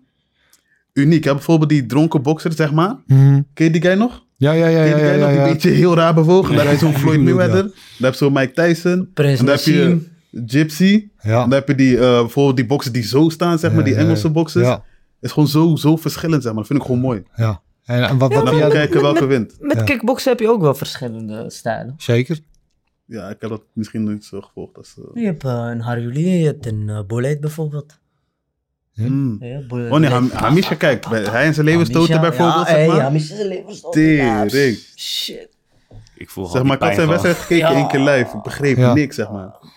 uniek. Je hebt bijvoorbeeld die dronken bokser, zeg maar. Mhm. Ken je die guy nog? Ja, ja, ja, Ken ja, je die ja, guy nog? ja, Die ja. beetje heel raar bewogen. Daar Ja, heb je zo'n ja, Floyd ja. Mayweather. Daar heb je zo'n Mike Tyson. Prins en daar heb je Nassim. Gypsy. Ja. En daar heb je die, eh, bijvoorbeeld die boksen die zo staan, zeg maar, die ja, ja. Engelse boxers. Ja. Het is gewoon zo, zo verschillend, zeg maar. Dat vind ik gewoon mooi. Ja. En, en wat, wat En doe dan moet jij je dan? kijken welke wint. Met Ja. kickboksen heb je ook wel verschillende stijlen. Zeker. Ja, ik heb dat misschien niet zo gevolgd. Als, eh, Je hebt eh, een Harjuli, je hebt een eh Boleid bijvoorbeeld. hmm. Ja, Boleid. Oh nee, Ham- Hamisha, kijk. bij- Hij en zijn leeuwenstoten Hamisha, bijvoorbeeld, Ja, zeg hey, maar. Hamisha is een leeuwenstoot. Ja, Tering. Shit. Ik voel Zeg gewoon maar, ik had die zijn pijn wedstrijd gewoon. gekeken Ja. één keer live. Ik begreep Ja. niks, zeg maar.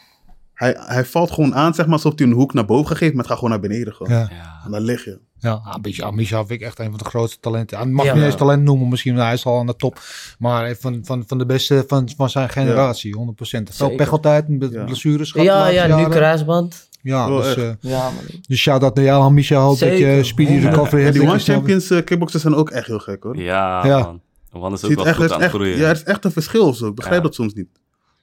Hij, hij valt gewoon aan, zeg maar, alsof hij een hoek naar boven gegeven, maar het gaat gewoon naar beneden. Gewoon. Ja. En dan lig je. Ja, ah, een beetje Amisha vind ik echt een van de grootste talenten. Hij mag Ja. niet eens talent noemen, misschien, want hij is al aan de top. Maar hij van, van, van de beste van, van zijn generatie, 100%. Veel Zeker. pech altijd, met Ja. blessures. gehad de Ja, laatste ja, nu jaren. kruisband. Ja, Oh, dus, echt. eh, Ja, man. dus shout-out naar jou, Amisha. Hoop dat je eh, Zeker. speedy recovery Ja, hebt. die Dat One je snel- Champions eh, kickboxers zijn ook echt heel gek, hoor. Ja, Ja. man. Wan is ook Ziet wel echt, er goed is aan het echt, groeien. ja, er is echt een verschil. Zo. Ik begrijp Ja. dat soms niet.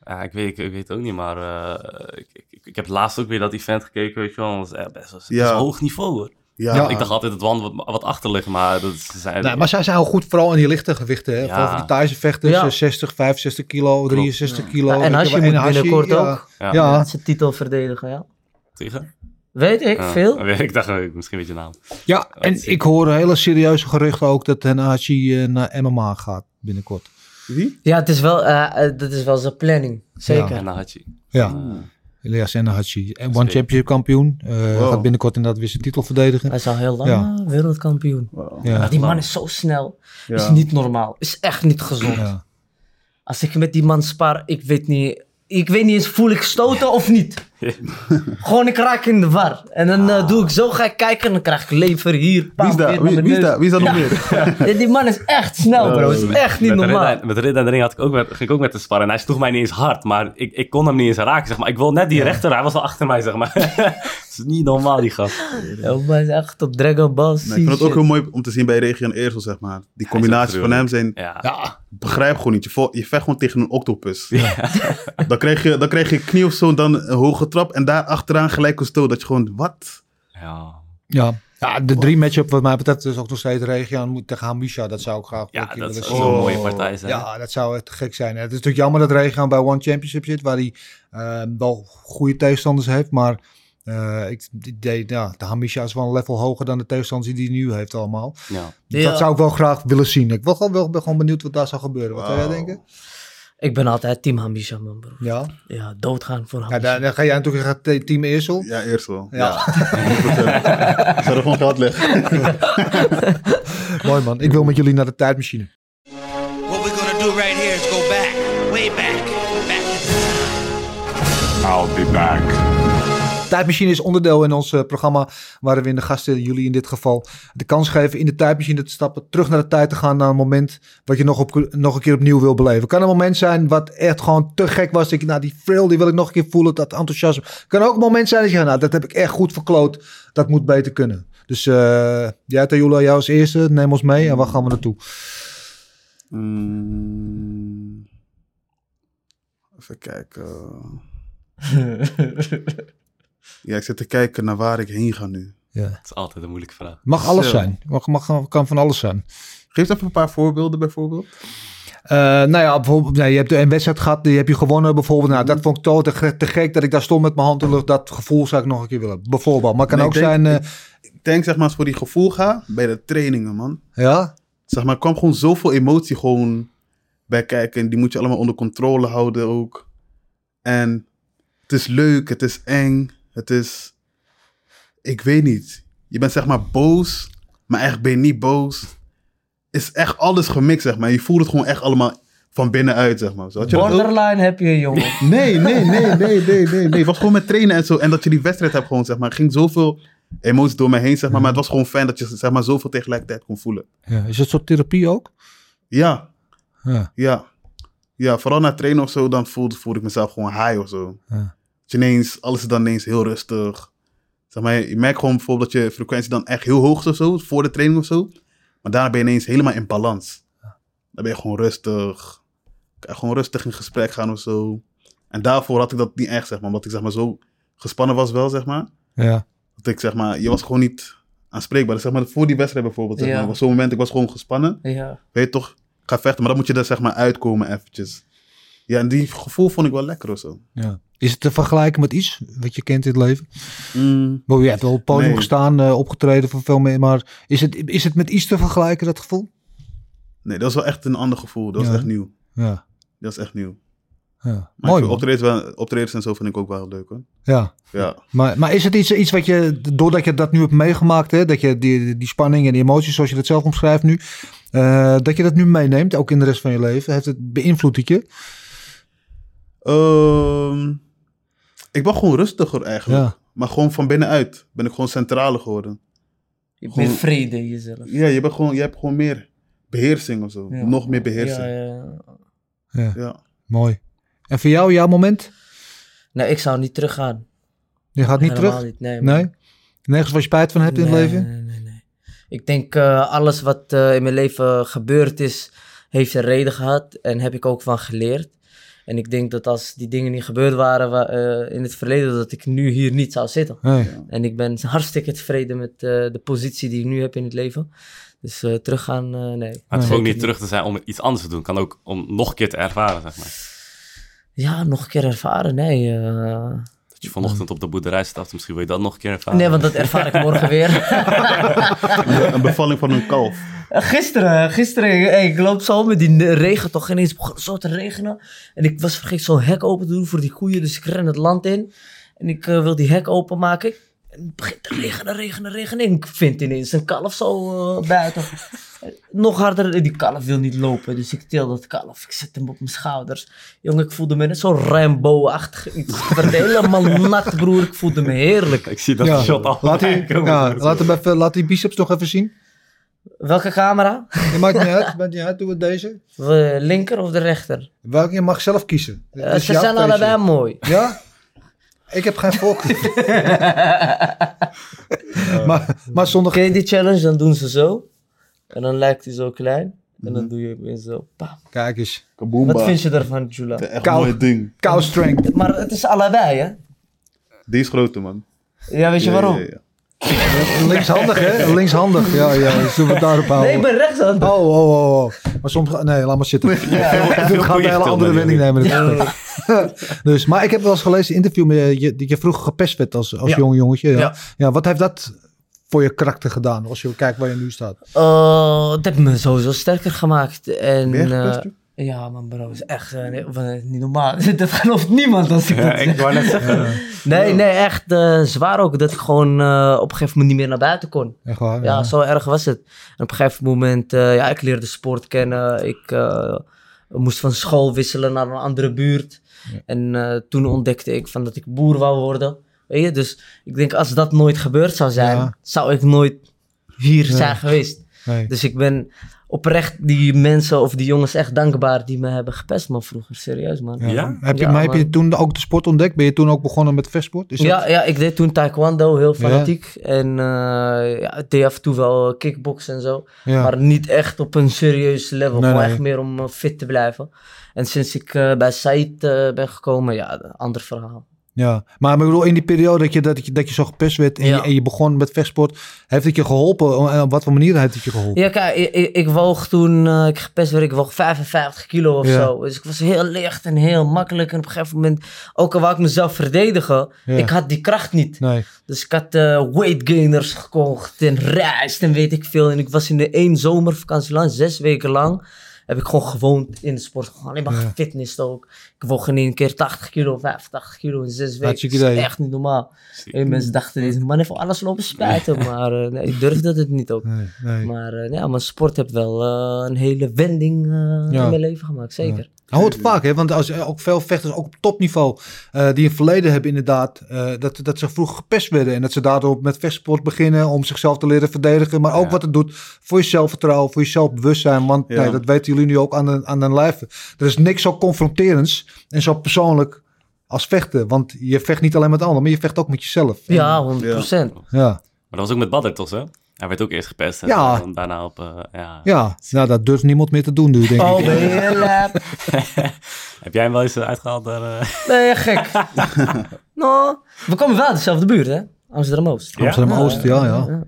Ja, ik weet, ik, ik weet ook niet, maar eh, ik, ik, ik heb laatst ook weer dat event gekeken, weet je wel. Dat is echt best wel dat is Ja. hoog niveau, hoor. Ja, Ja. Ik dacht altijd dat Wan wat, wat achter ligt, maar dat is- zijn... Nee, maar zij zijn heel goed, vooral in die lichte gewichten. Hè? Ja. Vooral voor die Thaise vechters, Ja. eh, 60, 65 kilo, 63 kilo. Ja, en weet je Hashi wel, moet binnenkort ja. ook. Ja, eh, Ja. ja. Zijn titel verdedigen, ja. tegen? Weet ik Ja. veel. Ik dacht, eh, misschien weet je naam. en ik hoor hele serieuze geruchten ook dat Hashi eh, naar MMA gaat binnenkort. Wie? Ja, het is wel, eh, eh, dat is wel zijn planning. Zeker. En Nahachi. Ja. Eh, Elias Enahachi. En One Zeker. Championship kampioen. Eh, Wow. Gaat binnenkort inderdaad weer zijn titel verdedigen. Hij is al heel lang Ja. eh, wereldkampioen. Wow. Ja. Die man is zo snel. Ja. Is niet normaal. Is echt niet gezond. Ja. Als ik met die man spar, ik weet niet. Ik weet niet eens, voel ik stoten of niet? Gewoon, ik raak in de war. En dan eh, doe ik zo, ga ik kijken en dan krijg ik lever hier. Wie is pam, daar? weer naar Wie, mijn wie is neus. daar? Wie is daar nog meer? Ja, die man is echt snel, bro. Het is echt niet met normaal. Ridder, met Ridder en de Ring had ik ook met, ging ik ook met de sparren. En hij sloeg mij niet eens hard, maar ik, ik kon hem niet eens raken. Zeg maar. Ik wil net die rechter, hij was al achter mij, zeg maar. Het is niet normaal, die gast. Ja, maar hij is echt op Dragon Ball Z. Nee, ik vind het ook shit. heel mooi om te zien bij Regio en Eersel, zeg maar. Die combinaties van hem zijn... Ja. begrijp gewoon niet. Je, vo- je vecht gewoon tegen een octopus. Dan, kreeg je, dan kreeg je knie of zo, dan een hoge trap. En daar achteraan gelijk een stoot. Dat je gewoon, wat? Ja. Ja. ja, de drie matchup wat mij betreft is ook nog steeds Regian moet tegen Hamisha. Dat zou ik graag Ja, een keer dat willen is zien. zo'n mooie partij zijn. Ja, dat zou echt gek zijn. Het is natuurlijk jammer dat Regian bij One Championship zit, waar hij eh, wel goede tegenstanders heeft. Maar eh, ik, die- die- ja, de Hamisha is wel een level hoger dan de tegenstanders die hij nu heeft allemaal. Ja. Dus Ja. Dat zou ik wel graag willen zien. Ik ben gewoon, wel, ben gewoon benieuwd wat daar zou gebeuren. Wat zou jij denken? Ik ben altijd team Hamisha, man, bro. Ja, Ja, doodgaan voor ja Hamisha. dan, dan ga jij natuurlijk gaat te- Team Eersel. Ja, eerst wel. Ja. Ik zou er gewoon geld leggen. Mooi man, ik wil met jullie naar de tijdmachine. What we're gonna do right here is go back, way back, back to the I'll be back. Tijdmachine is onderdeel in ons eh, programma waarin we in de gasten, jullie in dit geval, de kans geven in de tijdmachine te stappen, terug naar de tijd te gaan naar een moment wat je nog, op, nog een keer opnieuw wil beleven. Kan een moment zijn wat echt gewoon te gek was. Dat je, nou die thrill die wil ik nog een keer voelen, dat enthousiasme. Kan ook een moment zijn dat je, nou dat heb ik echt goed verkloot, dat moet beter kunnen. Dus eh jij Tayula, jou als eerste, neem ons mee en waar gaan we naartoe? Mm. even kijken. ja, ik zit te kijken naar waar ik heen ga nu. Het is altijd een moeilijke vraag. Mag alles Zo. zijn, mag, mag, kan van alles zijn. Geef even een paar voorbeelden bijvoorbeeld. Eh, nou ja, bijvoorbeeld, nee, je hebt een wedstrijd gehad, die heb je gewonnen bijvoorbeeld. Nou, dat vond ik toch te, ge- te gek dat ik daar stond met mijn hand in de lucht. Dat gevoel zou ik nog een keer willen. Bijvoorbeeld. Maar het kan Nee, ook ik denk- zijn. eh, Ik denk zeg maar als ik voor die gevoel ga, bij de trainingen man. eh, ja, zeg maar, kwam gewoon zoveel emotie gewoon bij kijken. En die moet je allemaal onder controle houden ook. En het is leuk, het is eng, het is... Ik weet niet. Je bent zeg maar boos, maar echt ben je niet boos. Is echt alles gemixt, zeg maar. Je voelt het gewoon echt allemaal van binnenuit, zeg maar. Zo, Had je dat ook? Borderline heb je, jongen. Nee, nee, nee, nee, nee, nee, nee. Het was gewoon met trainen en zo. En dat je die wedstrijd hebt gewoon, zeg maar. Er ging zoveel emoties door me heen, zeg maar. Maar het was gewoon fijn dat je, zeg maar, zoveel tegelijkertijd kon voelen. ja. Is dat soort therapie ook? Ja, Ja. Ja. ja, vooral na trainen of zo, dan voelde, voelde ik mezelf gewoon high of zo. Ja. Dus ineens, alles is dan ineens heel rustig. Zeg maar, je merkt gewoon bijvoorbeeld dat je frequentie dan echt heel hoog is of zo, voor de training of zo. Maar daarna ben je ineens helemaal in balans. Dan ben je gewoon rustig. Kan je gewoon rustig in gesprek gaan of zo. En daarvoor had ik dat niet echt, zeg maar. Omdat ik zeg maar zo gespannen was wel, zeg maar. Ja. Dat ik zeg maar, je was gewoon niet aanspreekbaar. Dus zeg maar, voor die wedstrijd bijvoorbeeld, zeg Ja. maar. Op zo'n moment, ik was gewoon gespannen Ja. weet je toch, ik ga vechten. Maar dan moet je er zeg maar uitkomen eventjes. Ja, en die gevoel vond ik wel lekker of zo. ja. Is het te vergelijken met iets wat je kent in het leven? Mm, Bo, je hebt wel op het podium Nee. gestaan, eh, opgetreden voor veel meer. Maar is het, is het met iets te vergelijken, dat gevoel? Nee, dat was wel echt een ander gevoel. Dat was Ja. echt nieuw. Ja. Dat is echt nieuw. ja. Maar Mooi ik vind man. optredens, wel, optredens en zo vind ik ook wel leuk hoor. Ja. Ja, Maar, maar is het iets, iets wat je, doordat je dat nu hebt meegemaakt, hè, dat je die, die spanning en die emoties, zoals je dat zelf omschrijft nu, eh, dat je dat nu meeneemt, ook in de rest van je leven? Heeft het beïnvloed het je? Ehm, ik ben gewoon rustiger eigenlijk. Ja. Maar gewoon van binnenuit ben ik gewoon centraler geworden. Je hebt Gewoon- meer vrede in jezelf. Ja, je, bent gewoon, je hebt gewoon meer beheersing of zo. Ja. Nog meer beheersing. Ja, Ja, ja. Mooi. En voor jou, jouw moment? Nou, ik zou niet teruggaan. Je gaat niet Helemaal terug? niet, nee. man. Nee? Nergens waar je spijt van hebt in het Nee, leven? Nee, nee, nee. Ik denk eh, alles wat eh, in mijn leven gebeurd is, heeft een reden gehad en heb ik ook van geleerd. En ik denk dat als die dingen niet gebeurd waren wa- eh, in het verleden, dat ik nu hier niet zou zitten. Nee. En ik ben hartstikke tevreden met eh, de positie die ik nu heb in het leven. Dus eh, teruggaan, eh, nee. Maar het is Zeker ook niet terug te zijn om iets anders te doen. Kan ook om nog een keer te ervaren, zeg maar. Ja, nog een keer ervaren, nee. eh. Dat je vanochtend op de boerderij stapt, misschien wil je dat nog een keer ervaren. Nee, want dat ervaar ik morgen weer. Een bevalling van een kalf. Gisteren, gisteren, hey, ik loop zo met die regen toch ineens begon het zo te regenen. En ik was vergeten zo'n hek open te doen voor die koeien, dus ik ren het land in. En ik eh, wil die hek openmaken. En het begint te regenen, regenen, regenen. En ik vind ineens een kalf zo eh, buiten. Nog harder, die kalf wil niet lopen, dus ik til dat kalf. Ik zet hem op mijn schouders. Jongen, ik voelde me net zo'n Rambo-achtig iets. Ik werd helemaal nat, broer. Ik voelde me heerlijk. Ik zie dat Ja. shot al. Laat die, voorbij komen. ja, laat, hem even, laat die biceps nog even zien. Welke camera? Je maakt niet uit, maakt niet uit. Doe het deze. De linker of de rechter? Welke je mag zelf kiezen. Dit Eh, is ze jouw zijn keuze. allebei mooi. Ja? Ik heb geen voorkeur. maar, maar zonder... Ken je die challenge? Dan doen ze zo. En dan lijkt hij zo klein. En dan doe je weer zo. Pam. Kijk eens. Kaboomba. Wat vind je daarvan, Jula? Echt Kalf. mooi ding. Cow strength. Maar het is allebei, hè? Die is groter man. Ja, weet je Ja, waarom? ja, ja. Linkshandig, hè? Linkshandig. Ja, ja. Zullen we het daarop houden? Nee, ik ben rechtshand. Oh, oh, oh, oh. Maar soms... Nee, laat maar zitten. We gaan een goeie hele andere vertelmanier. wending nemen. dit gesprek. dus, maar ik heb wel eens gelezen in een interview met je, dat je vroeger gepest werd als, als Ja. jong jongetje. Ja. Ja. Ja. wat heeft dat voor je karakter gedaan? Als je kijkt waar je nu staat. Oh, dat heeft me sowieso sterker gemaakt. En, Ben je gepest, eh, ja, man, bro, is echt eh, nee, van, eh, niet normaal. dat gelooft niemand als ik Ja, dat zeg. ik wou net zeggen. Nee, nee, echt eh, zwaar ook. Dat ik gewoon eh, op een gegeven moment niet meer naar buiten kon. Echt waar? Ja, zo erg was het. En op een gegeven moment, eh, ja, ik leerde sport kennen. Ik eh, moest van school wisselen naar een andere buurt. En eh, toen ontdekte ik van dat ik boer wou worden. Weet je, dus ik denk als dat nooit gebeurd zou zijn, Ja. zou ik nooit hier Ja. zijn geweest. Nee. Dus ik ben oprecht die mensen of die jongens echt dankbaar die me hebben gepest, man, vroeger. Serieus, man. Ja. Ja? Heb je, Ja, maar heb je man. toen ook de sport ontdekt? Ben je toen ook begonnen met vechtsport? Is Ja, dat- ja, ik deed toen taekwondo, heel Ja. fanatiek. En eh, ja, ik deed af en toe wel kickboksen en zo. ja. Maar niet echt op een serieus level. Nee, gewoon nee. echt meer om eh, fit te blijven. En sinds ik eh, bij Said eh, ben gekomen, ja, een ander verhaal. Ja, maar ik bedoel, in die periode dat je, dat je, dat je zo gepest werd en, Ja. je, en je begon met vechtsport, heeft het je geholpen? En op wat voor manier heeft het je geholpen? Ja, kijk, ik, ik, ik woog toen, eh, ik gepest werd, ik woog 55 kilo of Ja. zo. Dus ik was heel licht en heel makkelijk. En op een gegeven moment, ook al wou ik mezelf verdedigen, Ja. ik had die kracht niet. Nee, Dus ik had eh, weight gainers gekocht en rijst en weet ik veel. En ik was in de één zomervakantie lang, zes weken lang, heb ik gewoon gewoond in de sport. Gewoon alleen maar Ja. gefitnessd ook. Ik woog in één keer 80 kilo, 85 kilo in zes weken. Hartstikke Dat is idee. echt niet normaal. En mensen dachten, deze man heeft alles lopen spijten. Maar eh, nee, ik durfde het niet ook. nee, nee. Maar eh, ja, mijn sport heeft wel eh, een hele wending eh, Ja. in mijn leven gemaakt, zeker. Dat hoort vaak, hè? want als, eh, ook veel vechters, ook op topniveau, eh, die in het verleden hebben inderdaad, eh, dat, dat ze vroeg gepest werden. En dat ze daardoor met vechtsport beginnen om zichzelf te leren verdedigen. Maar ook Ja. wat het doet voor je zelfvertrouwen, voor je zelfbewustzijn. Want Ja. nee, dat weten jullie nu ook aan de, aan hun lijve. Er is niks zo confronterends en zo persoonlijk als vechten. Want je vecht niet alleen met anderen, maar je vecht ook met jezelf. Ja, 100 En- ja. Maar dat was ook met Badder, toch? Hè? Hij werd ook eerst gepest. En Ja. dan daarna op... eh, ja. ja. Nou, dat durft niemand meer te doen nu, denk ik. Oh, ben je lap. Heb jij hem wel eens eh, uitgehaald? Daar, eh? Nee, gek. Nou. no. We komen wel uit dezelfde buurt, hè? Amsterdam-Oost. Ja? Amsterdam-Oost, ja, ja.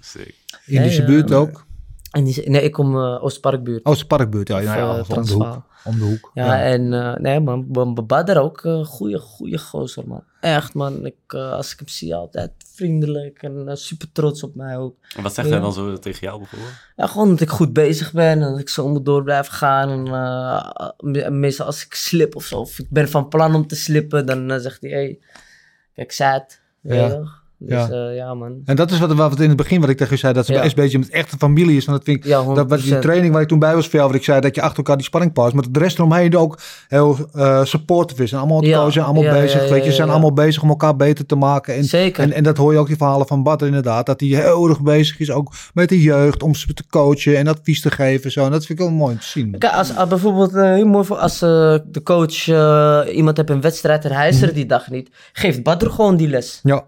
Sick. Indische Ja, ja. buurt ook. En die, nee, ik kom eh, Oostparkbuurt. Oosterparkbuurt, Oh, ja. ja, ja, Of, eh, om de Transvaal. hoek. Om de hoek. Ja, en eh, nee, man, B- B- Badr ook. eh goeie, goeie gozer, man. Echt, man. Ik, eh, als ik hem zie, altijd vriendelijk en eh, super trots op mij ook. En wat zegt Ja. hij dan zo tegen jou bijvoorbeeld? Ja, gewoon dat ik goed bezig ben en dat ik zo moet door blijven gaan. En eh, me- meestal als ik slip of zo, of ik ben van plan om te slippen, dan eh, zegt hij, hey, kijk, zat. Ja. Ja. Dus Ja. ja, ja man. En dat is wat, wat in het begin wat ik tegen je zei, dat ze Ja. bij SBG met echte familie is. En dat vind ik, Ja, 100%. dat was die training waar ik toen bij was voor jou, wat ik zei, dat je achter elkaar die spanning past. Maar de rest eromheen ook heel eh supportive is. En allemaal Ja. coachen, allemaal Ja, ja, bezig, ja, weet je. Ze ja, zijn ja. allemaal bezig om elkaar beter te maken. En, Zeker. En, en dat hoor je ook die verhalen van Bart inderdaad, dat hij heel erg bezig is ook met de jeugd, om ze te coachen en advies te geven en zo. En dat vind ik heel mooi om te zien. Kijk, als, als bijvoorbeeld, eh, heel mooi voor als eh, de coach eh, iemand heeft een wedstrijd en hij is er die dag niet, geeft Badr gewoon die les. Ja,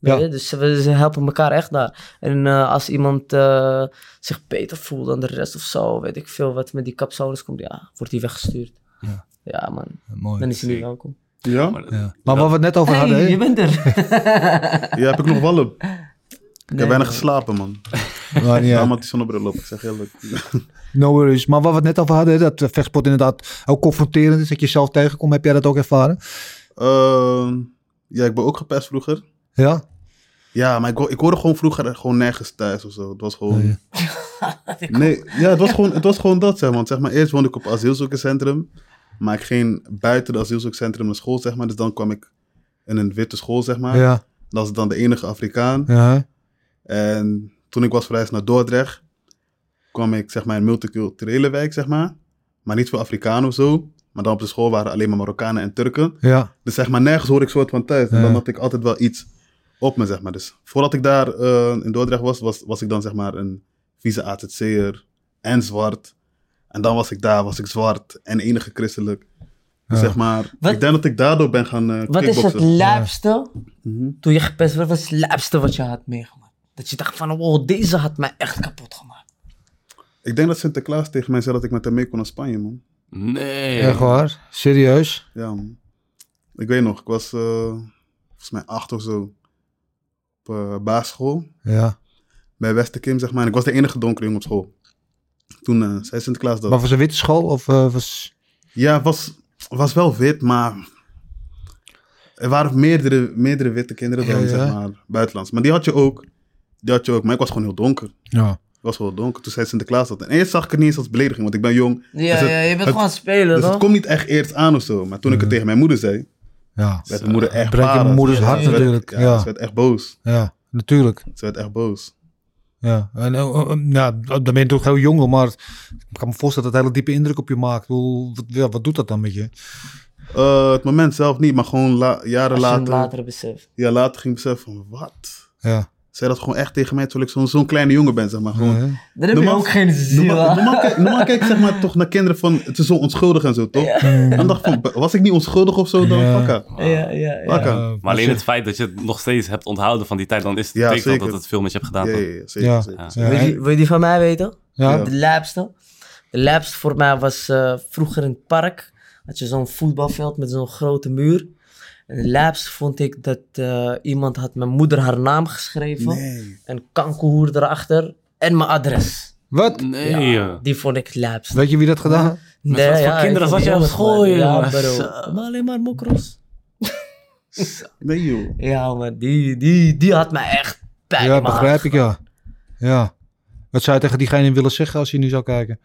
Weet Ja. je? Dus we ze helpen elkaar echt daar. En eh, als iemand eh, zich beter voelt dan de rest of zo, weet ik veel wat met die kapzones komt, ja, wordt die weggestuurd. Ja. Ja, man, mooi. dan is hij niet Zeker. welkom. Ja? Maar, Ja. Maar wat we het net over hadden, hè? je bent er. Ja, heb ik nog wel een. Ik Nee, heb weinig man. geslapen, man. Maar niet Ja. uit. Daarom had die zonnebril op, ik zeg eerlijk. No worries. Maar wat we het net over hadden, hè, dat eh, vechtsport inderdaad ook confronterend is, dat je zelf tegenkomt. Heb jij dat ook ervaren? Ehm, ja, ik ben ook gepest vroeger. Ja? Ja, maar ik, ho- ik hoorde gewoon vroeger gewoon nergens thuis of zo. Het was gewoon... Oh, ja. Nee, ja, het was gewoon, het was gewoon dat, zeg maar. Want zeg maar, eerst woonde ik op asielzoekerscentrum. Maar ik ging buiten het asielzoekerscentrum naar school, zeg maar. Dus dan kwam ik in een witte school, zeg maar. Ja. Dat was dan de enige Afrikaan. ja. En toen ik was verhuisd naar Dordrecht, kwam ik zeg maar in een multiculturele wijk, zeg maar. Maar niet voor Afrikanen of zo. Maar dan op de school waren alleen maar Marokkanen en Turken. Ja. Dus zeg maar, nergens hoor ik soort van thuis. En Ja. dan had ik altijd wel iets op me, zeg maar. Dus voordat ik daar eh, in Dordrecht was, was, was ik dan zeg maar een vieze AZC'er en zwart. En dan was ik daar, was ik zwart en enige christelijk. Dus Ja. zeg maar, Wat- ik denk dat ik daardoor ben gaan eh Wat is het kickboksen. laapste, Mhm. toen je gepest werd, wat is het laapste wat je had meegemaakt? Dat je dacht van, oh, deze had mij echt kapot gemaakt. Ik denk dat Sinterklaas tegen mij zei dat ik met hem mee kon naar Spanje, man. Nee. Echt waar? Serieus? Ja, man. Ik weet nog, ik was eh, volgens mij acht of zo op eh basisschool Ja. bij Westerkim, zeg maar. En ik was de enige donkere jongen op school. Toen eh, zei Sinterklaas dat. Maar was een witte school of eh, was... Ja, was, was wel wit, maar er waren meerdere, meerdere witte kinderen dan, Ja, ja. zeg maar, buitenlands. Maar die had je ook. Die had je ook, maar ik was gewoon heel donker. Ja. Ik was wel donker. Toen zei Sinterklaas dat. En eerst zag ik het niet eens als belediging, want ik ben jong. Ja, Dus het- ja je bent het- gewoon aan het spelen, Dus het hoor. komt niet echt eerst aan of zo. Maar toen ik het tegen mijn moeder zei, Ja. werd mijn moeder echt breekt je paras. moeders hart Ze werd- natuurlijk, ja. Ze werd echt boos. Ja. Natuurlijk. Ze werd echt boos. Ja. En, eh, eh, eh, ja, dan ben je toch heel jong, hoor, maar ik kan me voorstellen dat het hele diepe indruk op je maakt. Ik bedoel, Wat, ja, wat doet dat dan met je? Eh, het moment zelf niet, maar gewoon la- jaren Als je hem later, later beseft. Ja, later ging ik beseffen van, wat? Ja. Zei dat gewoon echt tegen mij, terwijl ik zo'n zo'n kleine jongen ben, zeg maar. Gewoon, Ja. Dan heb je Normaal- ook geen ziel. Normaal, hè? normaal, kijk, normaal kijk ik zeg maar toch naar kinderen van het is zo onschuldig en zo, toch? En dan dacht ik van, was ik niet onschuldig of zo dan? Ja. Fakka. Ja, ja, ja. Fakka. Ja, Eh, Maar alleen dus, het feit dat je het nog steeds hebt onthouden van die tijd, dan is het Ja, teken zeker. dat het veel met je hebt gedaan. ja, toch? ja, zeker. Ja. zeker. Ja. Wil, je, die- wil je die van mij weten? Ja. De laapste. De laapste voor mij was eh, vroeger in het park. Had je zo'n voetbalveld met zo'n grote muur. En de laapste vond ik dat eh, iemand had mijn moeder haar naam geschreven. Nee. En kankerhoer erachter. En mijn adres. Wat? Ja, Nee. joh. Die vond ik het laapste. Weet je wie dat gedaan heeft? Nee, wat voor ja, ik kinderen vond zat die je op jongens, school, man. Ja, joh? bro. Maar alleen maar mokros. Nee, joh. Ja, man. Die, die, die had mij echt pijn Ja, in mijn hart begrijp ik, ja. Ja. Wat zou je tegen diegene willen zeggen als je nu zou kijken?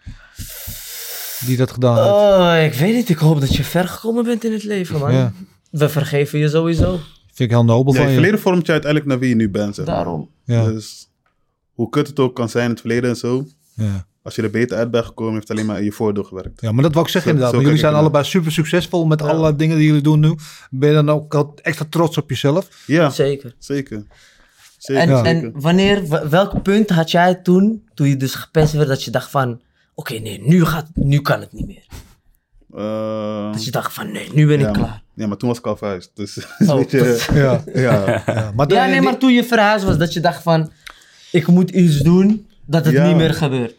Die dat gedaan heeft. Oh, ik weet niet. Ik hoop dat je ver gekomen bent in het leven, Eh, man. Ja. We vergeven je sowieso. Vind ik heel nobel Ja, van het je. verleden vormt je uiteindelijk naar wie je nu bent, zeg maar. Daarom. Ja, Dus hoe kut het ook kan zijn in het verleden en zo, ja. Als je er beter uit bent gekomen, heeft het alleen maar in je voordeel gewerkt. Ja, maar dat wou ik zeggen Zo- inderdaad. zo jullie kijk ik zijn allebei super succesvol met alle dingen die jullie doen nu. Ben je dan ook al extra trots op jezelf? Ja, Zeker. zeker. Zeker. En, zeker. en wanneer, w- welk punt had jij toen, toen je dus gepest werd, dat je dacht van, oké, nee, nu, gaat, nu kan het niet meer. Eh, Dat je dacht van, nee, nu ben ja, ik klaar. Maar, ja, maar toen was ik al verhuisd. Dus Oh. weet je, Ja. ja. ja. Maar, Ja, nee, maar toen je verhuisd was, dat je dacht van, ik moet iets doen dat het Ja. niet meer gebeurt.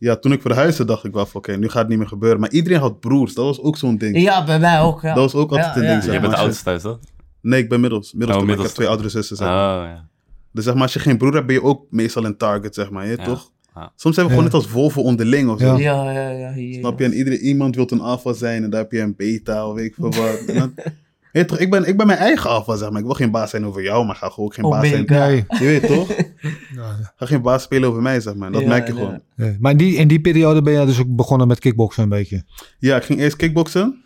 ja, toen ik verhuisde dacht ik wel van oké, nu gaat het niet meer gebeuren. Maar iedereen had broers, dat was ook zo'n ding. Ja, bij mij ook. Ja. Dat was ook altijd Ja, een ja. ding. Zeg Je bent de maar. oudste thuis, toch? Nee, ik ben middels. Middels, Oh, maar ik middels. heb twee oudere zussen. Zeg. maar. Oh, ja. Dus zeg maar, als je geen broer hebt, ben je ook meestal een target, zeg maar. Je, Ja. toch? Ja. Soms zijn we gewoon net als wolven onderling of zo. Ja. Ja, ja, ja. hier. Snap je? En iedereen, iemand wil een alfa zijn en daar heb je een beta of weet ik veel wat. En dan- Hé, toch, ik, ben, ik ben mijn eigen alfa, zeg maar. Ik wil geen baas zijn over jou, maar ga gewoon ook geen Oh, baas ben zijn. ik- Ja. nee. Je weet toch? Ja. Ga geen baas spelen over mij, zeg maar. Dat Ja, merk je ja. gewoon. Nee. maar in die, in die periode ben je dus ook begonnen met kickboksen een beetje. Ja, ik ging eerst kickboksen.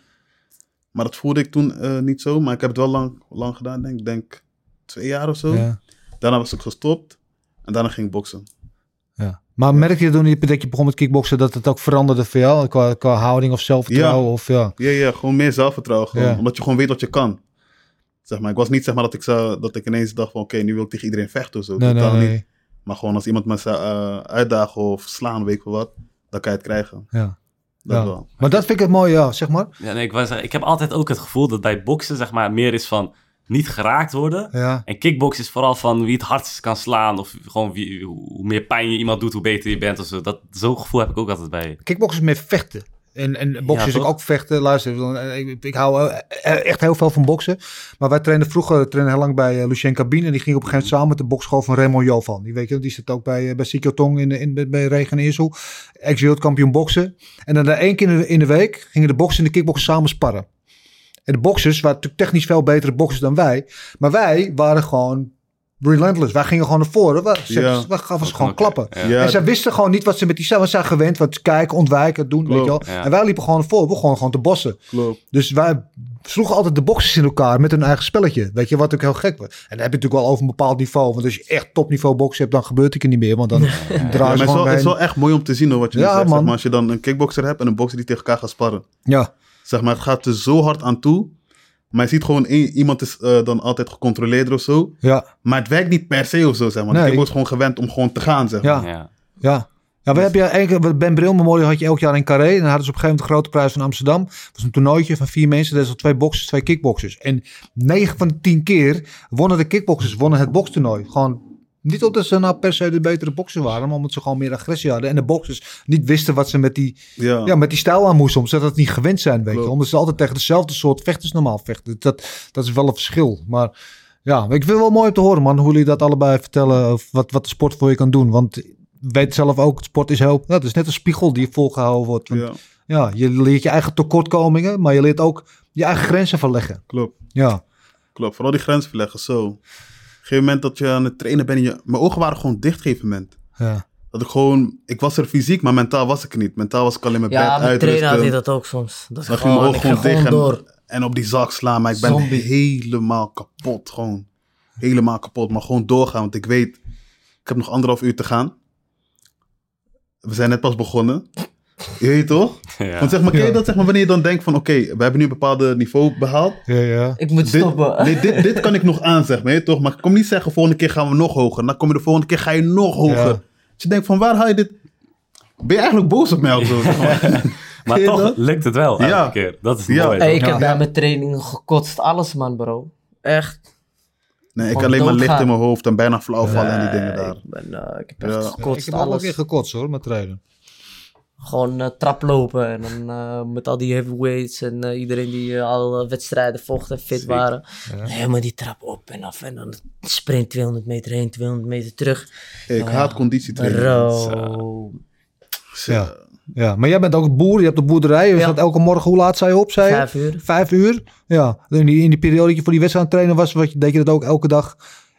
Maar dat voelde ik toen eh, niet zo. Maar ik heb het wel lang, lang gedaan, denk ik. Denk twee jaar of zo. Ja. Daarna was ik gestopt. En daarna ging ik boksen. Ja. Maar merk je toen je- dat je begon met kickboksen dat het ook veranderde voor jou? Qua, qua houding of zelfvertrouwen? Of, ja. Ja, ja, gewoon meer zelfvertrouwen. Gewoon, Ja. Omdat je gewoon weet wat je kan. Zeg maar, ik was niet zeg maar dat ik, zou, dat ik ineens dacht van oké, nu wil ik tegen iedereen vechten of zo. Nee, nee, Totaal niet. nee. Maar gewoon als iemand me zou eh, uitdagen of slaan, weet ik wel wat, dan kan je het krijgen. Ja. Dat Ja. wel. Maar dat vind ik het mooi, ja, zeg maar. Ja, nee, ik, was, ik heb altijd ook het gevoel dat bij boksen zeg maar, meer is van niet geraakt worden. Ja. En kickbox is vooral van wie het hardst kan slaan. Of gewoon wie, hoe meer pijn je iemand doet, hoe beter je bent. Of zo. Dat, zo'n gevoel heb ik ook altijd bij. Kickboksen is meer vechten. En, en boksen is toch? ook vechten. Luister, dan, eh, ik, ik hou eh, eh, echt heel veel van boksen. Maar wij trainden vroeger trainden heel lang bij eh, Lucien Cabine. En die ging op een gegeven moment samen met de bokschool van Raymond Jovan. Die, weet je, die zit ook bij, eh, bij Sikyo Tong in, in, bij- bij Regen Eersel. Ex-wereldkampioen boksen. En dan eh, één keer in de, in de week gingen de boksen en de kickboksen samen sparren. En de boksers waren natuurlijk technisch veel betere boksers dan wij. Maar wij waren gewoon relentless. Wij gingen gewoon naar voren. We, ze- Ja. we gaven ze Ook gewoon wel- klappen. Ja. Ja, en zij wisten gewoon niet wat ze met die cellen zijn gewend. Wat ze kijken, ontwijken, doen, weet je wel. Klopt, ja. En wij liepen gewoon voor. We gewoon gewoon te bossen. klopt. Dus wij sloegen altijd de boxers in elkaar met hun eigen spelletje. Weet je, wat ook heel gek was. En dan heb je het natuurlijk wel over een bepaald niveau. Want als je echt topniveau boksen hebt, dan gebeurt het er niet meer. Want dan Ja, maar draaien het, ze is gewoon wel, het is wel heen. echt mooi om te zien hoor, wat je Ja, nu zegt. Zeg man. maar, als je dan een kickbokser hebt en een bokser die tegen elkaar gaat sparren. Ja, Zeg maar, het gaat er zo hard aan toe. Maar je ziet gewoon, i- iemand is eh, dan altijd gecontroleerder of zo. ja, Maar het werkt niet per se of zo, zeg maar. Nee. Ik was gewoon gewend om gewoon te gaan, zeg maar. ja, Ja. ja. Ja, we hebben ja, één keer- wat Ben Bril Memorial had je elk jaar in Carré. En dan hadden ze op een gegeven moment de grote prijs van Amsterdam. Dat was een toernooitje van vier mensen. Dat is al twee boxers, twee kickboxers. En negen van de tien keer wonnen de kickboxers wonnen het bokstoernooi. Gewoon niet omdat ze nou per se de betere boxers waren. Maar omdat ze gewoon meer agressie hadden. En de boxers niet wisten wat ze met die Ja. Ja, met die stijl aan moesten, omdat ze dat niet gewend zijn, weet je. Klopt. Omdat ze altijd tegen dezelfde soort vechters normaal vechten. Dus Dat, dat is wel een verschil. Maar ja, ik vind het wel mooi om te horen, man, hoe jullie dat allebei vertellen. of Wat, wat de sport voor je kan doen. Want weet zelf ook, sport is heel. Dat is net een spiegel die volgehouden wordt. Want, ja. Ja, je leert je eigen tekortkomingen, maar je leert ook je eigen grenzen verleggen. klopt. Ja, Klopt. Vooral die grens verleggen, zo. Op een gegeven moment dat je aan het trainen bent, en je... mijn ogen waren gewoon dicht op een gegeven moment. ja, Dat ik gewoon, ik was er fysiek, maar mentaal was ik er niet. Mentaal was ik alleen mijn Ja, bed mijn trainer had hij uitrusten. dat ook soms. Dat Dan ik ging mijn gewoon, oog ik ging gewoon gewoon dicht door. en, en op die zak slaan. Maar ik ben Zombie. helemaal kapot, gewoon. Helemaal kapot, maar gewoon doorgaan. Want ik weet, ik heb nog anderhalf uur te gaan. We zijn net pas begonnen. Je weet toch? Ja. Want zeg maar, ken je Ja. dat zeg maar, wanneer je dan denkt van... Oké, we hebben nu een bepaald niveau behaald. ja, ja. Ik moet Dit, stoppen. nee, dit, dit kan ik nog aan, zeg maar. je weet toch? Maar ik kom niet zeggen, volgende keer gaan we nog hoger. Dan kom je de volgende keer, ga je nog hoger. Ja. Dus je denkt van, waar haal je dit... Ben je eigenlijk boos op mij of zo? zeg maar? Maar Ken je toch dat? lukt het wel. Ja. Elke keer. Dat is Ja. mooi. Hey, toch? ik heb Ja. bij mijn trainingen gekotst, alles man, bro. Echt. Nee, ik Gewoon alleen maar licht doodgaan. in mijn hoofd en bijna flauw vallen en die dingen Eh, daar. Ik, ben, eh, ik heb echt Ja. Ik gekotst, heb ook wel alles. weer gekotst hoor, met trainen. Gewoon eh, traplopen en dan eh, met al die heavyweights en eh, iedereen die eh, al eh, wedstrijden vocht en fit waren. Helemaal die trap op en af en dan sprint 200 meter heen, 200 meter terug. Hey, ik haat conditietraining. Dus, eh, Bro. Ja. ja, maar jij bent ook boer, je hebt de boerderij. Je Ja. staat elke morgen, hoe laat zei je op? Zei je? Vijf uur. Vijf uur? Ja. In die, in die periode dat je voor die wedstrijd aan het trainen was, wat, je- deed je dat ook elke dag?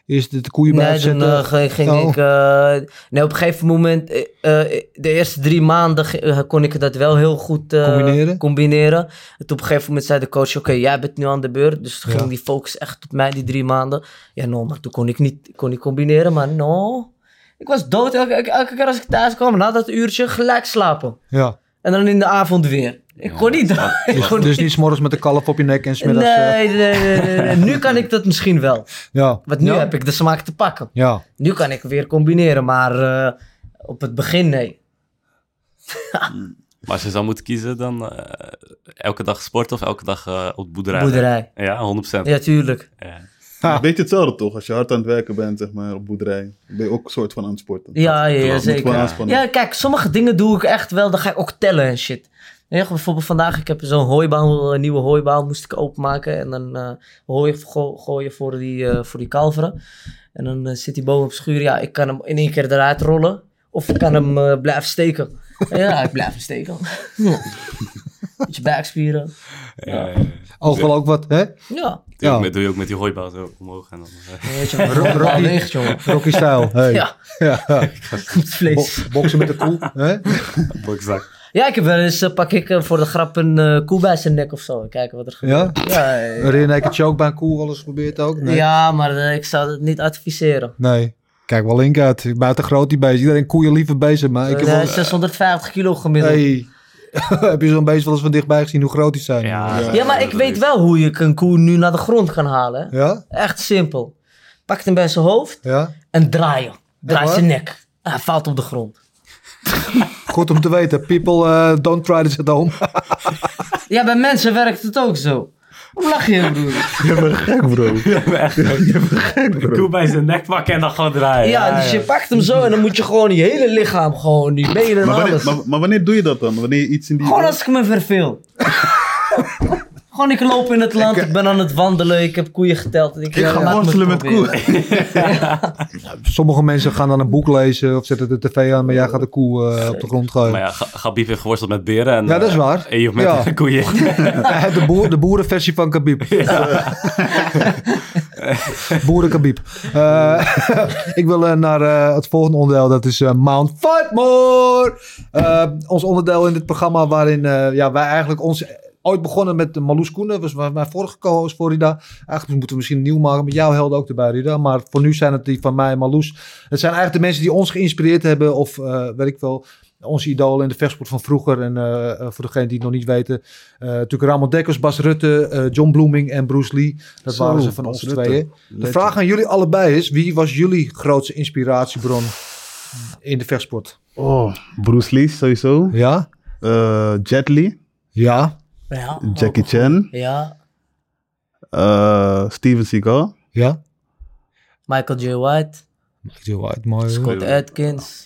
Is de de koeien bij Nee, het dan eh, zetten? ging, ging Oh. ik... eh, nee, op een gegeven moment... eh, eh, de eerste drie maanden ge- eh, kon ik dat wel heel goed eh, Combineren? combineren. En toen op een gegeven moment zei de coach... Oké, jij bent nu aan de beurt. Dus toen Ja. ging die focus echt op mij, die drie maanden. Ja, no, maar toen kon ik niet kon ik combineren. Maar no... Ik was dood elke, elke, elke keer als ik thuis kwam. Na dat uurtje gelijk slapen. Ja. En dan in de avond weer. Ik kon niet. Ik Dus, kon dus niet- niet s'morgens met de kalf op je nek en smiddags... eh, Nee, nee, nee, nee, nee. Nu kan ik dat misschien wel. ja. Want nu ja. heb ik de smaak te pakken. Ja. Nu kan ik weer combineren, maar eh, op het begin nee. Maar als je zou moeten kiezen, dan eh, elke dag sporten of elke dag eh, op boerderij? Boerderij. Ja, 100%. Ja, tuurlijk. Ja. Ja. Een beetje hetzelfde toch? Als je hard aan het werken bent, zeg maar, op boerderij, ben je ook een soort van aan het sporten. Ja, ja, ja, Moet zeker. gewoon aanspannen. Ja, kijk, sommige dingen doe ik echt wel. Dan ga ik ook tellen en shit. Weet je, bijvoorbeeld vandaag, ik heb zo'n hooibaal, een nieuwe hooibaal moest ik openmaken. En dan eh hooi go- gooien voor die, eh, voor die kalveren. En dan eh, zit die boom op schuur. Ja, ik kan hem in één keer eruit rollen. Of ik kan hem eh, blijven steken. Ja, ik blijf hem steken. Beetje buikspieren. Ja, ja, ja. Oog wel ook wat, hè? Ja, Doe, je ook Ja. met, doe je ook met die hooibaal zo omhoog. En dan, eh, weet je, maar Rocky. beweegt, jongen. Rocky style. Hey. Ja, Ja. het vlees. Bo- boksen met de koe, hè? bokszak. Ja, ik heb wel eens, eh, pak ik eh, voor de grap een eh, koe bij zijn nek of zo. Kijken wat er gebeurt. Ja? Ja, eh, Een rear-naked choke bij een koe, alles gebeurt ook? Nee. ja maar eh, ik zou het niet adviseren. Nee. Kijk wel link uit. Buiten groot die beest. Iedereen koeien liever bezig, maar ik heb Eh, wel... 650 kilo gemiddeld. Hey. heb je zo'n beest wel eens van dichtbij gezien hoe groot die zijn? Ah. Ja, maar ik weet wel hoe je een koe nu naar de grond kan halen. hè. Ja? Echt simpel. Pak hem bij zijn hoofd Ja? en draai hem. Draai waar? zijn nek. Hij valt op de grond. Goed om te weten. People, eh, don't try this at home. Ja, bij mensen werkt het ook zo. Hoe lach je, broer? Je bent gek, bro. Je bent gek, De bro. koe bij zijn nek pakken en dan gewoon draaien. Ja, dus je pakt hem zo en dan moet je gewoon je hele lichaam, gewoon die benen en Maar alles. wanneer, maar, maar wanneer doe je dat dan? Wanneer je iets in die... Gewoon als ik me verveel. Gewoon, ik loop in het land, ik ben aan het wandelen, ik heb koeien geteld. en Ik, Ik ja, laat ga me worstelen met proberen. koe. Sommige mensen gaan dan een boek lezen of zetten de tv aan, maar jij gaat de koe eh, op de grond gooien. Maar ja, Ga- Gabib heeft geworsteld met beren. En, Ja, dat is eh, waar. En je met Ja. koeien. Eh, de, boer, de boerenversie van Kabib. Boerenkabib. Eh, ik wil eh, naar eh, het volgende onderdeel. Dat is eh, Mount Fightmore. Eh, ons onderdeel in dit programma waarin eh, ja, wij eigenlijk ons... Ooit begonnen met Marloes Koenen, was mijn mijn vorige co-host voor Rida. Eigenlijk moeten we misschien een nieuw maken met jou helden ook erbij, Rida. Maar voor nu zijn het die van mij en Marloes. Het zijn eigenlijk de mensen die ons geïnspireerd hebben of eh weet ik wel, onze idolen in de vechtsport van vroeger. En eh, eh, voor degenen die het nog niet weten, eh, natuurlijk Ramon Dekkers, Bas Rutte, eh, John Bloeming en Bruce Lee. Dat Zo, waren ze van Bas ons Rutte. tweeën. De vraag aan jullie allebei is, wie was jullie grootste inspiratiebron in de vechtsport? Oh, Bruce Lee sowieso. Ja? Eh, Jet Li. Ja? Ja. Jackie Chan. Ja, eh, Steven Seagal. Ja? Michael J. White, Heel uit, mooi. hoor. Scott Atkins.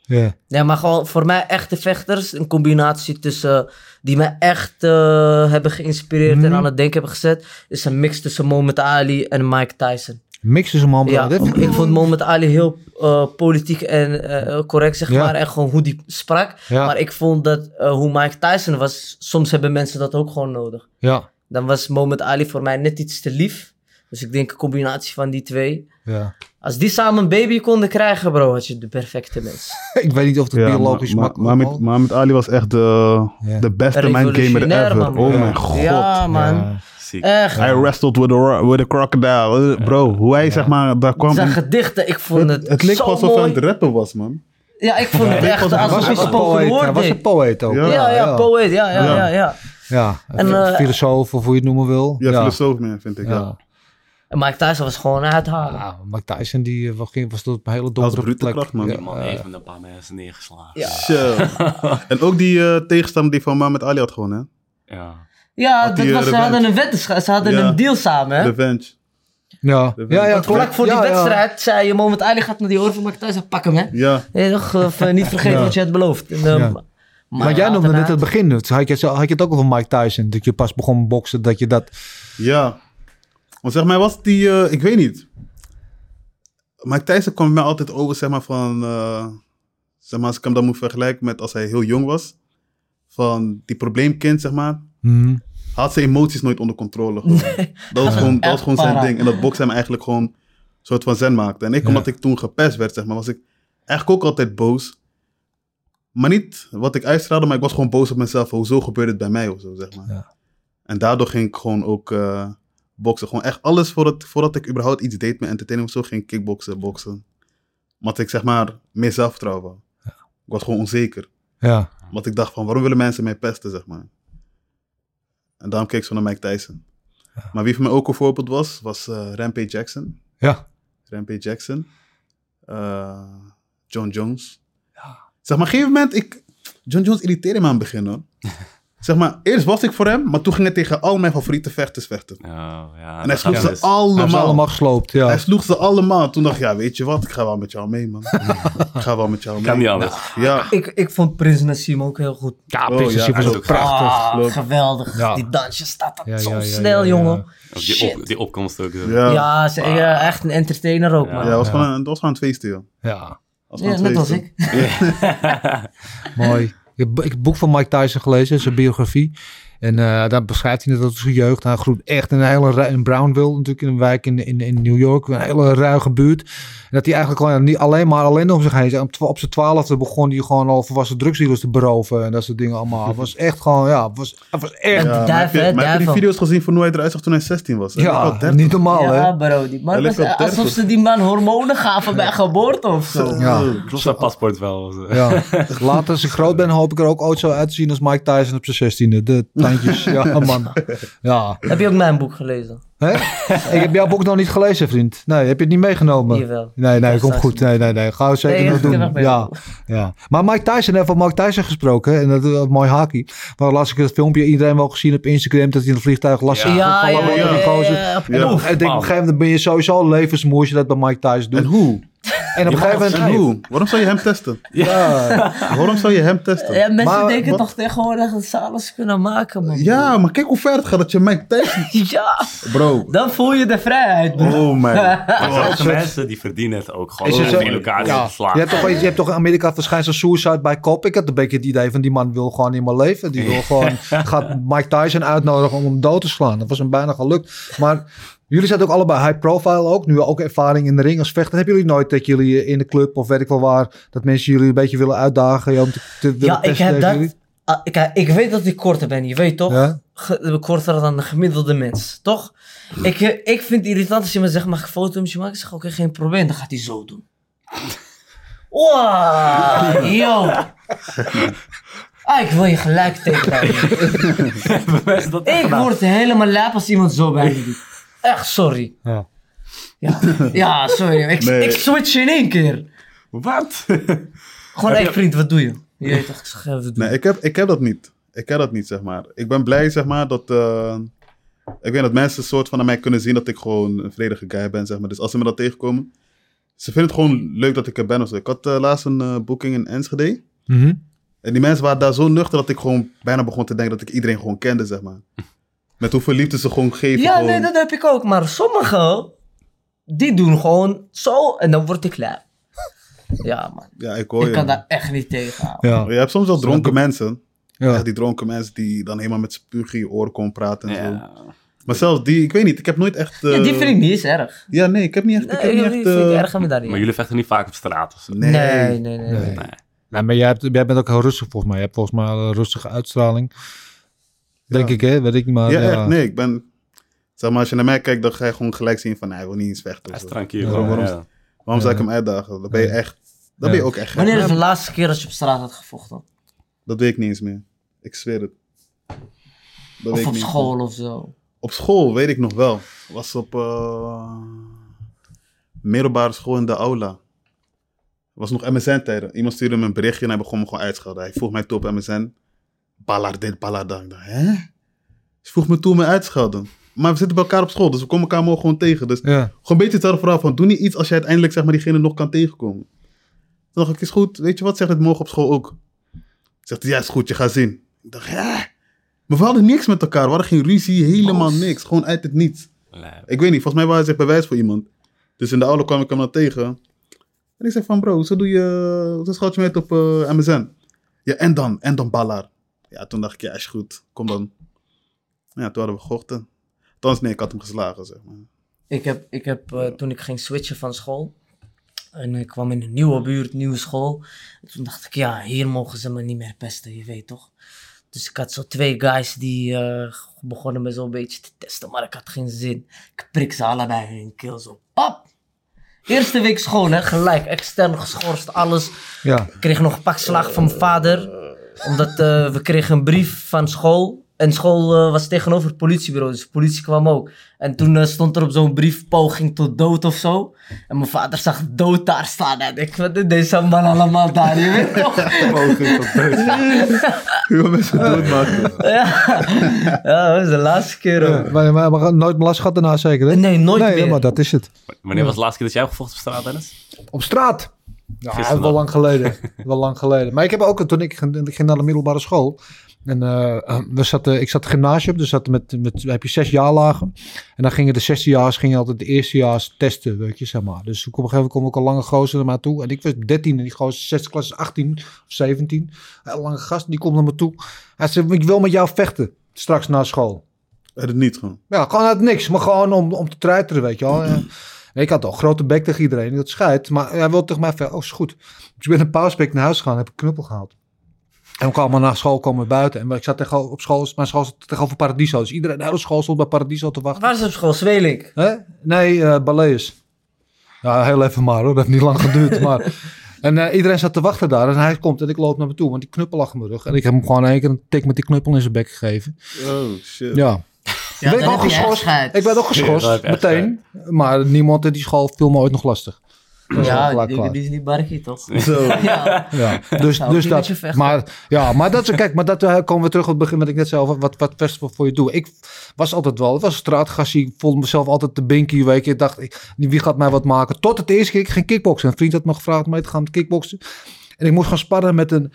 Ja. Ja, maar gewoon voor mij echte vechters. Een combinatie tussen eh, die mij echt eh, hebben geïnspireerd en Mm. aan het denken hebben gezet. Is een mix tussen Mohamed Ali en Mike Tyson. Mixen ze man. Ja, dit. ik vond Mohamed Ali heel eh, politiek en eh, correct, zeg Ja. maar. En gewoon hoe die sprak. Ja. Maar ik vond dat eh, hoe Mike Tyson was, soms hebben mensen dat ook gewoon nodig. Ja. Dan was Mohamed Ali voor mij net iets te lief. Dus ik denk een combinatie van die twee. ja. Als die samen een baby konden krijgen, bro, had je de perfecte mens. Ik weet niet of het Ja, biologisch maar, maar, maar, makkelijk met, maar met Ali was echt de, Ja. de beste mindgamer Revolutionair, ever. man. Oh Ja. mijn god. Ja, man. Ziek. Echt. I wrestled with a, ro- with a crocodile. Eh, Bro, hoe hij zeg maar daar kwam. Zijn Het, gedichten, ik vond het, het leek zo wel alsof hij aan mooi. het rappen was, man. Ja, ik vond het echt Hij was als een een spoken poëet. Hij word was een ding. poëet ook. Ja, Ja, ja, poëet, ja, ja, Ja. ja. ja. Ja, En, eh, filosoof of hoe je het noemen wil. Ja, filosoof meer, vind ik. Ja. Ja. En Mike Tyson was gewoon een uithalen. Ja, Mike Tyson die eh, was, ging- was tot op een hele donkere brute plek. kracht, man. Ja, Die Man eh, heeft een paar mensen neergeslagen. Ja, Zo. en ook die eh, tegenstander die van Mohamed Ali had gewoon, hè? Ja. ja Had dat die, was, eh, ze revenge. hadden een weddenschap, ze hadden Ja. een deal samen. Hè? Revenge. ja. Dat ja, ja weet ik. klopt. Vlak voor die Ja, ja. wedstrijd zei je Mohamed Ali gaat naar die oren van Mike Tyson, pak hem hè. Ja. Ja, toch, of, eh, niet vergeten Ja. wat je had beloofd. En, Ja. ehm, Maar jij noemde net daarna- het begin. dus Had je, het zo- had je het ook over Mike Tyson? Dat je pas begon boksen, dat je dat... Ja. Want zeg maar, was die, eh, ik weet niet. Mike Tyson kwam mij altijd over, zeg maar, van, eh, zeg maar, als ik hem dan moet vergelijken met als hij heel jong was. Van die probleemkind, zeg maar, Mhm. had zijn emoties nooit onder controle. gewoon. Dat was gewoon, dat was gewoon zijn para. ding. En dat boksen hem eigenlijk gewoon een soort van zen maakte. En ik, omdat ik toen gepest werd, zeg maar, was ik eigenlijk ook altijd boos. Maar niet wat ik uitstraalde, maar ik was gewoon boos op mezelf. Hoezo gebeurde het bij mij of zo, zeg maar. Ja. En daardoor ging ik gewoon ook eh boksen. Gewoon echt alles voordat, voordat ik überhaupt iets deed met entertainment of zo, ging ik kickboksen, boksen. Omdat ik zeg maar meer zelfvertrouwen wou. Ik was gewoon onzeker. Ja. Omdat ik dacht van, waarom willen mensen mij pesten, zeg maar. En daarom keek ik zo naar Mike Tyson. Maar wie voor mij ook een voorbeeld was, was eh, Rampage Jackson. Ja. Rampage Jackson. eh, John Jones. Zeg maar, op een gegeven moment, ik, John Jones irriteerde me aan het begin, hoor. zeg maar, eerst was ik voor hem, maar toen ging hij tegen al mijn favoriete vechters vechten. Oh, ja, en hij sloeg ze Hij is allemaal. allemaal gesloopt, ja. Hij sloeg ze allemaal. Toen dacht ik, ja, weet je wat, ik ga wel met jou mee, man. ik ga wel met jou mee. Kan niet anders. Ja, Ik, ik vond Prins Nassim ook heel goed. Ja, Oh, Prinses ja, Sif was hij ook is ook prachtig. Ah, klopt. geweldig. Ja. Die dansje staat dat Ja, zo ja, ja, snel, ja, ja. jongen. Ook Shit. die, op, die opkomst ook. eh. ja. ja. Ja, ze, ja, echt een entertainer ook, man. het was gewoon een, het was gewoon een feestje, joh. Ja, Het was Ja, gewoon net een als feestje. ik. mooi. Ik heb ik heb het boek van Mike Tyson gelezen, zijn biografie. En eh, daar beschrijft hij net dat zijn jeugd. Hij groeit echt in een hele ru- in Brownville, natuurlijk in een wijk in, in, in New York, een hele ruige buurt. En dat hij eigenlijk gewoon niet alleen maar alleen om zich heen. is. Op, twa- op zijn twaalfde begon hij gewoon al volwassen drugsdealers te beroven en dat soort dingen allemaal. Het was echt gewoon, ja, het was, het was echt, Ja, Ja, maar heb duif, je, hè, maar heb je die duivel. video's gezien van hoe hij eruit zag toen hij 16 was? Hij was wel ja, 30. niet normaal, Ja, hè? bro. Die man Hij was, ligt op alsof 30. ze die man hormonen gaven bij geboorte of zo. Ja. Klopt zijn paspoort wel. Ja, later als ik groot ben hoop ik er ook ooit zo uit te zien als Mike Tyson op zijn 16e. De tandjes, ja man. Ja. Heb je ook mijn boek gelezen? Hè? ik heb jouw boek nog niet gelezen, vriend. Nee, heb je het niet meegenomen? Jawel. Nee, nee, Dat komt staat goed. er. Nee, nee, nee. Ga het zeker Nee, nog dat kan nog doen. beter. Ja, ja. Maar Mike Tyson, hè, van Mike Tyson gesproken. hè, En dat is wel mooi haakje. Maar laatst heb ik dat filmpje iedereen wel gezien op Instagram. Dat hij in het vliegtuig last Ja, Ja, ja, van ja, die ja, gozer. ja. En op- en ik denk, op een gegeven moment ben je sowieso levensmoe als je dat bij Mike Tyson doet. En hoe? En op een gegeven moment... En hoe? Waarom zou je hem testen? Ja, Waarom zou je hem testen? Ja, mensen Maar denken wat- toch tegenwoordig dat ze alles kunnen maken, man. Ja, maar kijk hoe ver het gaat dat je Mike Tyson... Ja, Bro. dan voel je de vrijheid, man. Oh my. Maar Oh, sommige mensen die verdienen het ook gewoon Is om het zo? in elkaar Ja. te slaan. Je hebt, toch, je hebt toch in Amerika verschijnsel suicide by cop. Ik had een beetje het idee van die man wil gewoon niet meer leven. Die wil gewoon, gaat Mike Tyson uitnodigen om hem dood te slaan. Dat was hem bijna gelukt. Maar jullie zaten ook allebei high profile ook. Nu ook ervaring in de ring als vechter. Hebben jullie nooit dat jullie in de club of weet ik wel waar... dat mensen jullie een beetje willen uitdagen? ja, Om te, te willen Ja, ik testen heb tegen dat. jullie? Ah, ik, ik weet dat ik korter ben, je weet toch? Ja. Ge- korter dan de gemiddelde mens, toch? Ik, eh, ik vind het irritant als je me zegt, mag ik een foto met je maken? Ik zeg, oké, geen probleem. Dan gaat hij zo doen. Wow, yo. Ah, ik wil je gelijk tegenhouden. mensen dat Ik word helemaal laap als iemand zo bij me doet. Echt, sorry. Ja. Ja, ja, sorry. Ik, Nee. ik switch in één keer. Wat? Gewoon, hé vriend, wat doe je? Je weet toch, ik zeg, eh, wat doe je? Nee, ik heb, ik heb dat niet. Ik heb dat niet, zeg maar. Ik ben blij, zeg maar, dat... eh, ik weet dat mensen een soort van aan mij kunnen zien dat ik gewoon een vredige guy ben, zeg maar. Dus als ze me dat tegenkomen... Ze vinden het gewoon leuk dat ik er ben of zo. Ik had eh, laatst een eh, boeking in Enschede. Mhm. En die mensen waren daar zo nuchter dat ik gewoon bijna begon te denken dat ik iedereen gewoon kende, zeg maar. Met hoeveel liefde ze gewoon geven. Ja, gewoon. nee, dat heb ik ook. Maar sommigen, die doen gewoon zo en dan word ik klaar. Ja, man. Ja, ik hoor ik je. kan man. daar echt niet tegen. Ja, Je hebt soms wel dronken mensen. ja. Echt die dronken mensen die dan helemaal met spuug in je oor komen praten en zo. Maar zelfs die, ik weet niet, ik heb nooit echt... eh, Ja, die vind ik niet eens erg. Ja, nee, ik heb niet echt... Nee, ik heb die niet echt vind ik eh, erg aan me daar niet. Maar jullie vechten niet vaak op straat of zo. Nee. nee, nee, nee. nee. Nou, maar jij, hebt, jij bent ook heel rustig volgens mij. Je hebt volgens mij een rustige uitstraling. Denk ik, hè? Weet ik niet, maar... Ja, ja. echt, nee, ik ben... Zeg maar, als je naar mij kijkt, dan ga je gewoon gelijk zien van, hij wil niet eens vechten. Hij of is zo. tranquille. Ja, hoor. waarom- Ja. Waarom zou ik hem uitdagen? Dan ben je echt... Dan ben je ook echt gek. Wanneer is de laatste keer dat je op straat had gevochten? Dat weet ik niet eens meer. Ik zweer het. Dat weet Of ik op niet. school of zo? Op school weet ik nog wel. Was op eh, middelbare school in de aula. Was nog MSN-tijden. Iemand stuurde me een berichtje en hij begon me gewoon uit te schelden. Hij vroeg mij toe op MSN. Ballard dit, ballard dat. Ik dacht, hè? Ze vroeg me toe om me uit te schelden. Maar we zitten bij elkaar op school, dus we komen elkaar morgen gewoon tegen. Dus Ja. gewoon een beetje hetzelfde verhaal van, doe niet iets als je uiteindelijk zeg maar, diegene nog kan tegenkomen. Toen dacht ik, is goed, weet je wat, zegt het morgen op school ook. Zegt hij, ja, is goed, je gaat zien. Ik dacht, ja. Maar we hadden niks met elkaar, we hadden geen ruzie, helemaal niks. Gewoon uit het niets. Nee. Ik weet niet, volgens mij waren ze echt bewijs voor iemand. Dus in de auto kwam ik hem dan tegen. En ik zei van, bro, zo doe je, zo schat je mij uit op eh, MSN. Ja, en dan, en dan Ballar. Ja, toen dacht ik, ja, is goed, kom dan. Ja, toen hadden we gevochten. Althans, nee, ik had hem geslagen, zeg maar. Ik heb, ik heb eh, toen ik ging switchen van school. En ik kwam in een nieuwe buurt, nieuwe school. En toen dacht ik, ja, hier mogen ze me niet meer pesten, je weet toch? Dus ik had zo twee guys die eh, begonnen me zo'n beetje te testen, maar ik had geen zin. Ik prik ze allebei in hun keel zo, pap! Eerste week schoon, hè, gelijk. Extern geschorst, alles. Ja. Ik kreeg nog een pak slaag van mijn vader. Omdat eh, we kregen een brief van school. En school eh, was tegenover het politiebureau, dus de politie kwam ook. En toen eh, stond er op zo'n brief poging tot dood of zo. En mijn vader zag dood daar staan. En ik, wat is deze man allemaal daar? Je weet toch? Poging tot dood. Je wil mensen doodmaken. ja. ja, dat was de laatste keer ook. Eh, Maar, maar, maar nooit meer last gehad daarna zeker, hè? Nee, nooit nee, meer. maar dat is het. Wanneer was de laatste keer dat jij gevochten op straat, Dennis? Op straat. Ja, Gisteren wel dan. lang geleden. wel lang geleden. Maar ik heb ook, toen ik, ging- ik ging naar de middelbare school. En eh, we zaten, ik zat gymnasium, dus zat met, met, heb je zes jaarlagen. En dan gingen de zesdejaars gingen altijd de eerstejaars testen, weet je, zeg maar. Dus op een gegeven moment kwam ook een lange gozer naar mij toe. En ik was 13 en die gozer, zesde klas, is 18 of 17. Een lange gast, die komt naar me toe. Hij zei, ik wil met jou vechten, straks na school. Het niet gewoon. Ja, gewoon uit niks, maar gewoon om, om te treiteren, weet je wel. En ik had al een grote bek tegen iedereen, dat scheidt. Maar hij wilde tegen mij verder. Oh, is goed. Dus ik ben een pauzebeek naar huis gegaan en heb een knuppel gehaald. En we kwamen na school komen we buiten. En ik zat tegenover, op school, mijn school zat tegenover Paradiso. Dus iedereen, de hele school stond bij Paradiso te wachten. Waar is op school? Zweling. Hè? Nee, eh Baleus. Ja, heel even maar hoor. Dat heeft niet lang geduurd. maar. En eh, iedereen zat te wachten daar. En hij komt en ik loop naar me toe. Want die knuppel lag in mijn rug. En ik heb hem gewoon in één keer een tik met die knuppel in zijn bek gegeven. Oh, shit. Ja. Ja, ben ik dan ook heb je echt geschorst. scheid. Ik ben ook Ja, geschorst, dat heb je echt meteen. Maar niemand in die school viel me ooit nog lastig. Dat is wel Ja, gelijk die, klaar. die is niet barkie, toch? Zo. Ja. Ja, dus, Nou, dus die dat. met je vechten. Maar, ja, maar dat, is- kijk, maar dat eh, komen we terug op het begin wat ik net zei over wat, wat festival voor je doet. Ik was altijd wel, ik was een straatgassie, ik voelde mezelf altijd de binky, weet je. Ik dacht, ik, wie gaat mij wat maken? Tot het eerste keer ik ging kickboksen. Een vriend had me gevraagd om mee te gaan kickboksen. En ik moest gaan sparren met een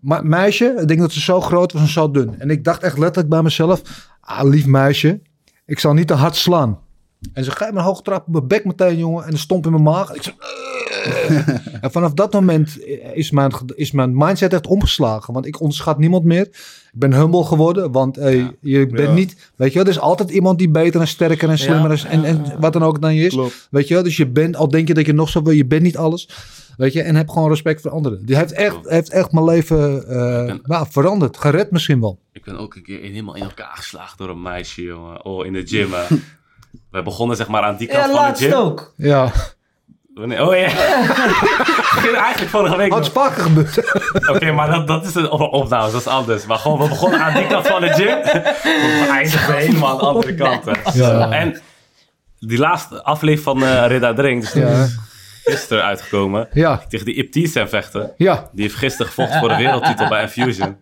ma- meisje. Ik denk dat ze zo groot was en zo dun. En ik dacht echt letterlijk bij mezelf, ah, lief meisje, ik zal niet te hard slaan. En ze geeft me een hoge trap op mijn bek meteen, jongen. En een stomp in mijn maag. En ik zo, en vanaf dat moment is mijn, is mijn mindset echt omgeslagen. Want ik onderschat niemand meer. Ik ben humble geworden. Want hey, je bent Ja. niet... Weet je wel, er is altijd iemand die beter en sterker en slimmer is en, en wat dan ook dan je is. Klopt. Weet je wel, dus je bent... Al denk je dat je nog zo wil, je bent niet alles. Weet je, en heb gewoon respect voor anderen. Die heeft echt, heeft echt mijn leven eh, nou, veranderd. Gered misschien wel. Ik ben ook een keer in- helemaal in elkaar geslagen door een meisje, jongen. Oh, in de gym. eh. We begonnen zeg maar aan die kant Ja, van de laatst gym. ook. Ja. Wanneer- Oh ja. Begin eigenlijk vorige week. Wat is nog. vaker gebeurd. Oké, maar dat, dat is een op- opname, dat is anders. Maar gewoon, we begonnen aan die kant van de gym. We eindigden helemaal aan de andere kant. hè. Ja. En die laatste aflevering van eh Ridda Drink, dus die Ja. is gisteren uitgekomen. Ja. Tegen die Ipties zijn vechten. Ja. Die heeft gisteren gevochten voor de wereldtitel bij Infusion.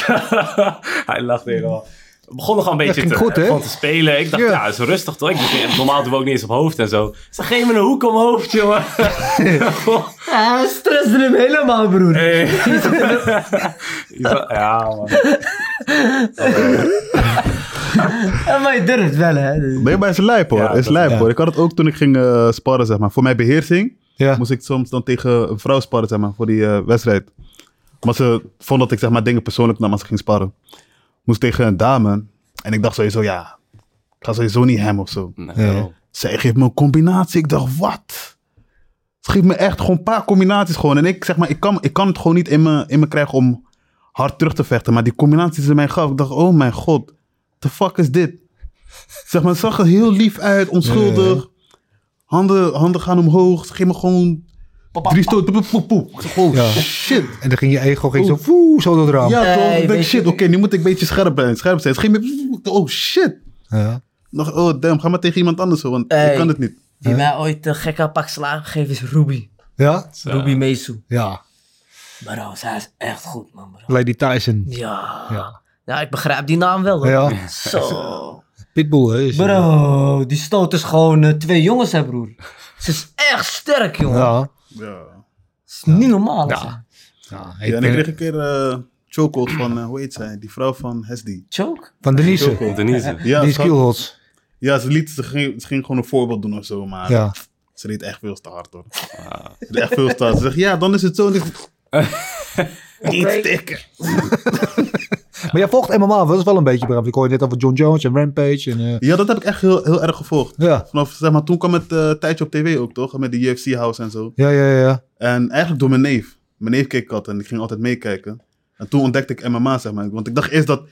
Hij lacht helemaal. We begonnen gewoon een beetje ging te, goed, hè? gewoon te spelen. Ik dacht, Ja. ja, is rustig toch? Ik dacht, normaal doen we ook niet eens op hoofd en zo. Ze geven me een hoek om hoofd, jongen. Ja, hij stresste hem helemaal, broer. Hey. ja, man. Ja, maar je durft wel, hè. Dus- Nee, maar het is lijp hoor. Ja, Het is dat- lijp ja. hoor. Ik had het ook toen ik ging eh, sparren, zeg maar. Voor mijn beheersing Ja. moest ik soms dan tegen een vrouw sparren, zeg maar, voor die eh, wedstrijd. Maar ze vond dat ik, zeg maar, dingen persoonlijk nam als ik ging sparren. Moest tegen een dame. En ik dacht sowieso, ja, ik ga sowieso niet hem of zo. Nee. Zij geeft me een combinatie. Ik dacht, wat? Ze geeft me echt gewoon een paar combinaties gewoon. En ik zeg maar, ik kan, ik kan het gewoon niet in me, in me krijgen om hard terug te vechten. Maar die combinaties die ze mij gaf, ik dacht, oh mijn god, the fuck is dit? Zeg maar, het zag er heel lief uit, onschuldig. Handen, handen gaan omhoog. Ze geeft me gewoon drie stoten. Poep, poep, poep. Ik dacht, oh Ja. shit. En dan ging je ego ging zo, woe, zo door het raam. Ja, Nee, toch? Ik weet denk, je- shit, oké, nu moet ik een beetje scherp zijn. Scherp zijn. Ze geeft me, oh shit. Ja. Nog, oh damn, ga maar tegen iemand anders, hoor, want Hey. ik kan het niet. Die mij ooit een gekke pak slaag gegeven is Ruby. Ja? Ruby Mesu. Ja. Bro, zij is echt goed, man, bro. Lady Tyson. Ja. Ja. ja. ik begrijp die naam wel, hoor. Ja. Zo. Pitbull, hè? is- eh, Bro, die stoot is gewoon eh, twee jongens, hè, broer. Ze is echt sterk, jongen. Ja. Ja. is niet normaal, Ja. ja. zeg. Ja, Ja, ik en ben- ik kreeg een keer eh chokehold van, eh, hoe heet zij? Die vrouw van Hesdi. Choke? Van Denise. Chokehold. Denise. Ja, Die ze, had- skillholds. ja ze, liet, ze, ging, ze ging gewoon een voorbeeld doen of zo, maar Ja. ze deed echt veel te hard hoor. Ze deed echt veel te hard. Ze zegt, ja, dan is het zo. En ik dacht, Niet stikken. Maar jij volgt MMA, dat is wel een beetje braaf. Ik hoor je net over John Jones en Rampage. En, eh, Ja, dat heb ik echt heel, heel erg gevolgd. ja. Vanaf, zeg maar, toen kwam het eh, tijdje op tv ook, toch? Met de UFC-house en zo. Ja, ja, ja, ja. En eigenlijk door mijn neef. Mijn neef keek ik altijd en ik ging altijd meekijken. En toen ontdekte ik MMA, zeg maar. Want ik dacht eerst dat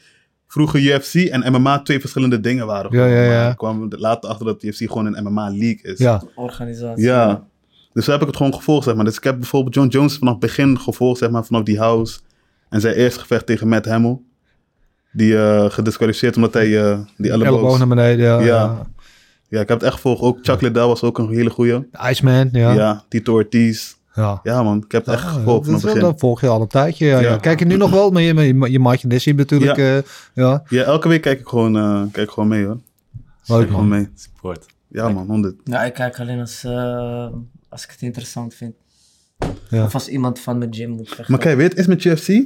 vroeger UFC en MMA twee verschillende dingen waren. Ja, gewoon. ja, ja. Maar ik kwam er later achter dat UFC gewoon een MMA-league is. Ja, Organisatie. Ja. Dus zo heb ik het gewoon gevolgd, zeg maar. Dus ik heb bijvoorbeeld John Jones vanaf het begin gevolgd, zeg maar, vanaf die house. En zijn eerste gevecht tegen Matt Hamill. Die eh, gedisqualificeerd omdat hij eh, die elleboog... elleboog naar beneden. Ja. Ja. Ja, ik heb het echt gevolgd. Ook Chuck Liddell was ook een hele goeie. ja. Iceman, ja. Ja, ja. Tito Ortiz. Ja man, ik heb het echt Ah, gevolgd dat vanaf is het wel- begin. dat volg je al een tijdje. Ja, ja. Ja. Kijk je nu nog wel, maar je, je, je maatje Nessie natuurlijk. Ja. Ja. ja. Ja, elke week kijk ik gewoon, eh, kijk ik gewoon mee hoor. Leuk Gewoon man. mee. Sport. Ja man, 100. Ja, ik kijk alleen als, eh, als ik het interessant vind. Ja. Of als iemand van mijn gym moet vechten. Maar kijk, weet je, het is met UFC.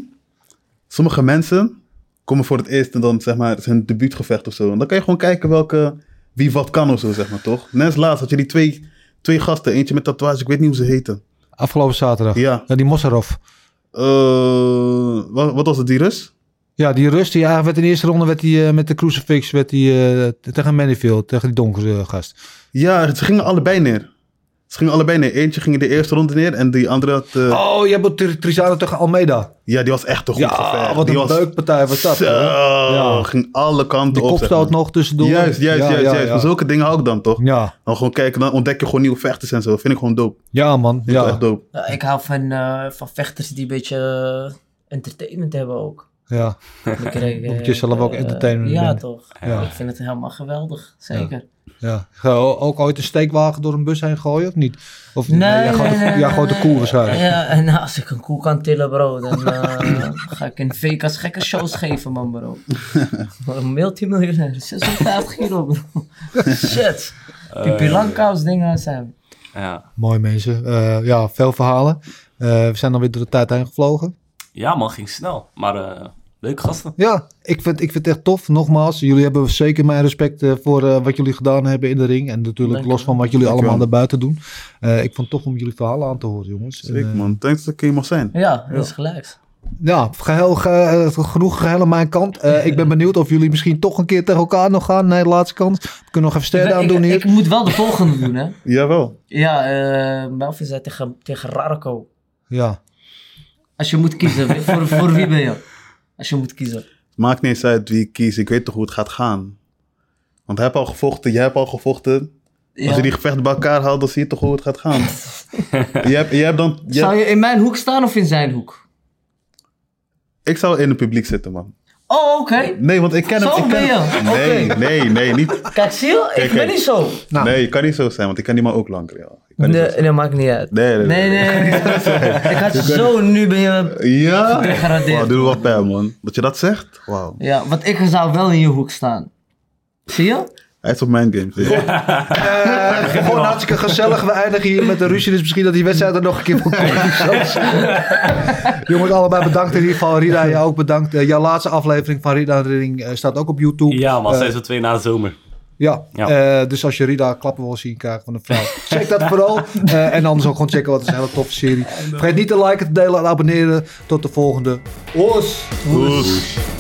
Sommige mensen komen voor het eerst en dan zeg maar het is hun debuutgevecht of zo. En dan kan je gewoon kijken welke, wie wat kan of zo, zeg maar toch? Net als laatst had je die twee, twee gasten, eentje met tatoeage, ik weet niet hoe ze heten. Afgelopen zaterdag. Ja. die Mossarov. Eh, wat, wat was het, die Rus? Ja, die rust, die eigenlijk werd in de eerste ronde werd die, eh, met de crucifix werd die, eh, tegen Manifield, tegen die donkere eh, gast. Ja, ze gingen allebei neer. Ze gingen allebei neer. Eentje ging in de eerste ronde neer en die andere had. eh, Oh, je hebt Tri- Trizano tegen Almeida. Ja, die was echt een goed Ja, gevecht. wat die een was, leukpartij was dat. Zo, hoor. Ja. ging alle kanten Die op. zeg kopstoot maar. nog tussendoor. Juist, juist, Ja, juist. ja, juist. ja. Maar zulke dingen hou ik dan toch? Ja, Dan gewoon kijken, dan ontdek je gewoon nieuwe vechters en zo. Vind ik gewoon dope. ja man. Vind ik Ja. echt dope. Ja, ik hou van, eh, van vechters die een beetje eh, entertainment hebben ook. ja. Ik krijg, eh, Moet je zelf ook eh, entertainment Ja, vinden. toch. Ja. Ik vind het helemaal geweldig. Zeker. Ja. Ga je o- ook ooit een steekwagen door een bus heen gooien of niet? Of Nee, ja, gewoon, nee, nee, ja, nee, gewoon de nee. koel waarschijnlijk. Ja, en nou, als ik een koe kan tillen, bro, dan eh, ga ik in Vegas gekke shows geven, man, bro. Een multimiljonair, 56 kilo, bro. Shit. Die Pilankaus dingen zijn. Ja. Mooi mensen. Eh, ja, veel verhalen. Eh, we zijn dan weer door de tijd heen gevlogen. ja man, ging snel. Maar eh, leuke gasten. Ja, ik vind, ik vind het echt tof. Nogmaals, jullie hebben zeker mijn respect eh, voor eh, wat jullie gedaan hebben in de ring. En natuurlijk Dank je los van wat jullie allemaal daarbuiten doen. Eh, ik vond het tof om jullie verhalen aan te horen, jongens. En, Zeker, eh, man. Thanks dat Dus ik hier mag zijn. Ja, dat is gelijk. ja, geheel, ge- eh, genoeg geheel aan mijn kant. Eh, ik ben benieuwd of jullie misschien toch een keer tegen elkaar nog gaan. Nee, de laatste kans. We kunnen nog even sterren aan ik, doen ik, hier. ik moet wel de volgende doen, hè. Jawel. Ja, eh Melvin zei tegen, tegen Rarko. ja. Als je moet kiezen, wie- voor, voor wie ben je? Als je moet kiezen. Maakt niet eens uit wie ik kies. Ik weet toch hoe het gaat gaan. Want hij heeft al gevochten, jij hebt al gevochten. Als je die gevechten bij elkaar haalt, dan zie je toch hoe het gaat gaan. je hebt, je hebt dan, je Zou hebt- je in mijn hoek staan of in zijn hoek? Ik zou in het publiek zitten, man. Oh, oké. Nee, want ik ken hem. Zo ik ken ben hem. je. Nee, Oké. nee, nee, niet. Kijk, zie je? Ik Kijk, ben kijk. niet zo. Nee, je kan niet zo zijn, want ik ken die man ook langer. Ja. Ik kan niet zo Nou. Nee, zijn. nee, maakt niet uit. Nee, nee, Nee, nee. nee. ik had je zo, nu ben je... Ja? Gedegradeerd. Wauw, doe me wat pijn, man. Dat je dat zegt? Wauw. Ja, want ik zou wel in je hoek staan. Zie je? Hij is op mijn game. Ja. Gewoon hartstikke gezellig. We eindigen hier met de ruzie. Dus misschien dat die wedstrijd er nog een keer voor komt. Zelfs. Jongens, allebei bedankt in ieder geval. Rida, jou ook bedankt. Eh, jouw laatste aflevering van Rida en de Ring eh, staat ook op YouTube. Ja man, Eh, seizoen 2 na de zomer. Ja, Ja. eh, dus als je Rida klappen wil zien krijgen van een vrouw, check dat vooral. Eh, en anders ook gewoon checken, want het is een hele toffe serie. Vergeet niet te liken, te delen en abonneren. Tot de volgende. Os! Oes.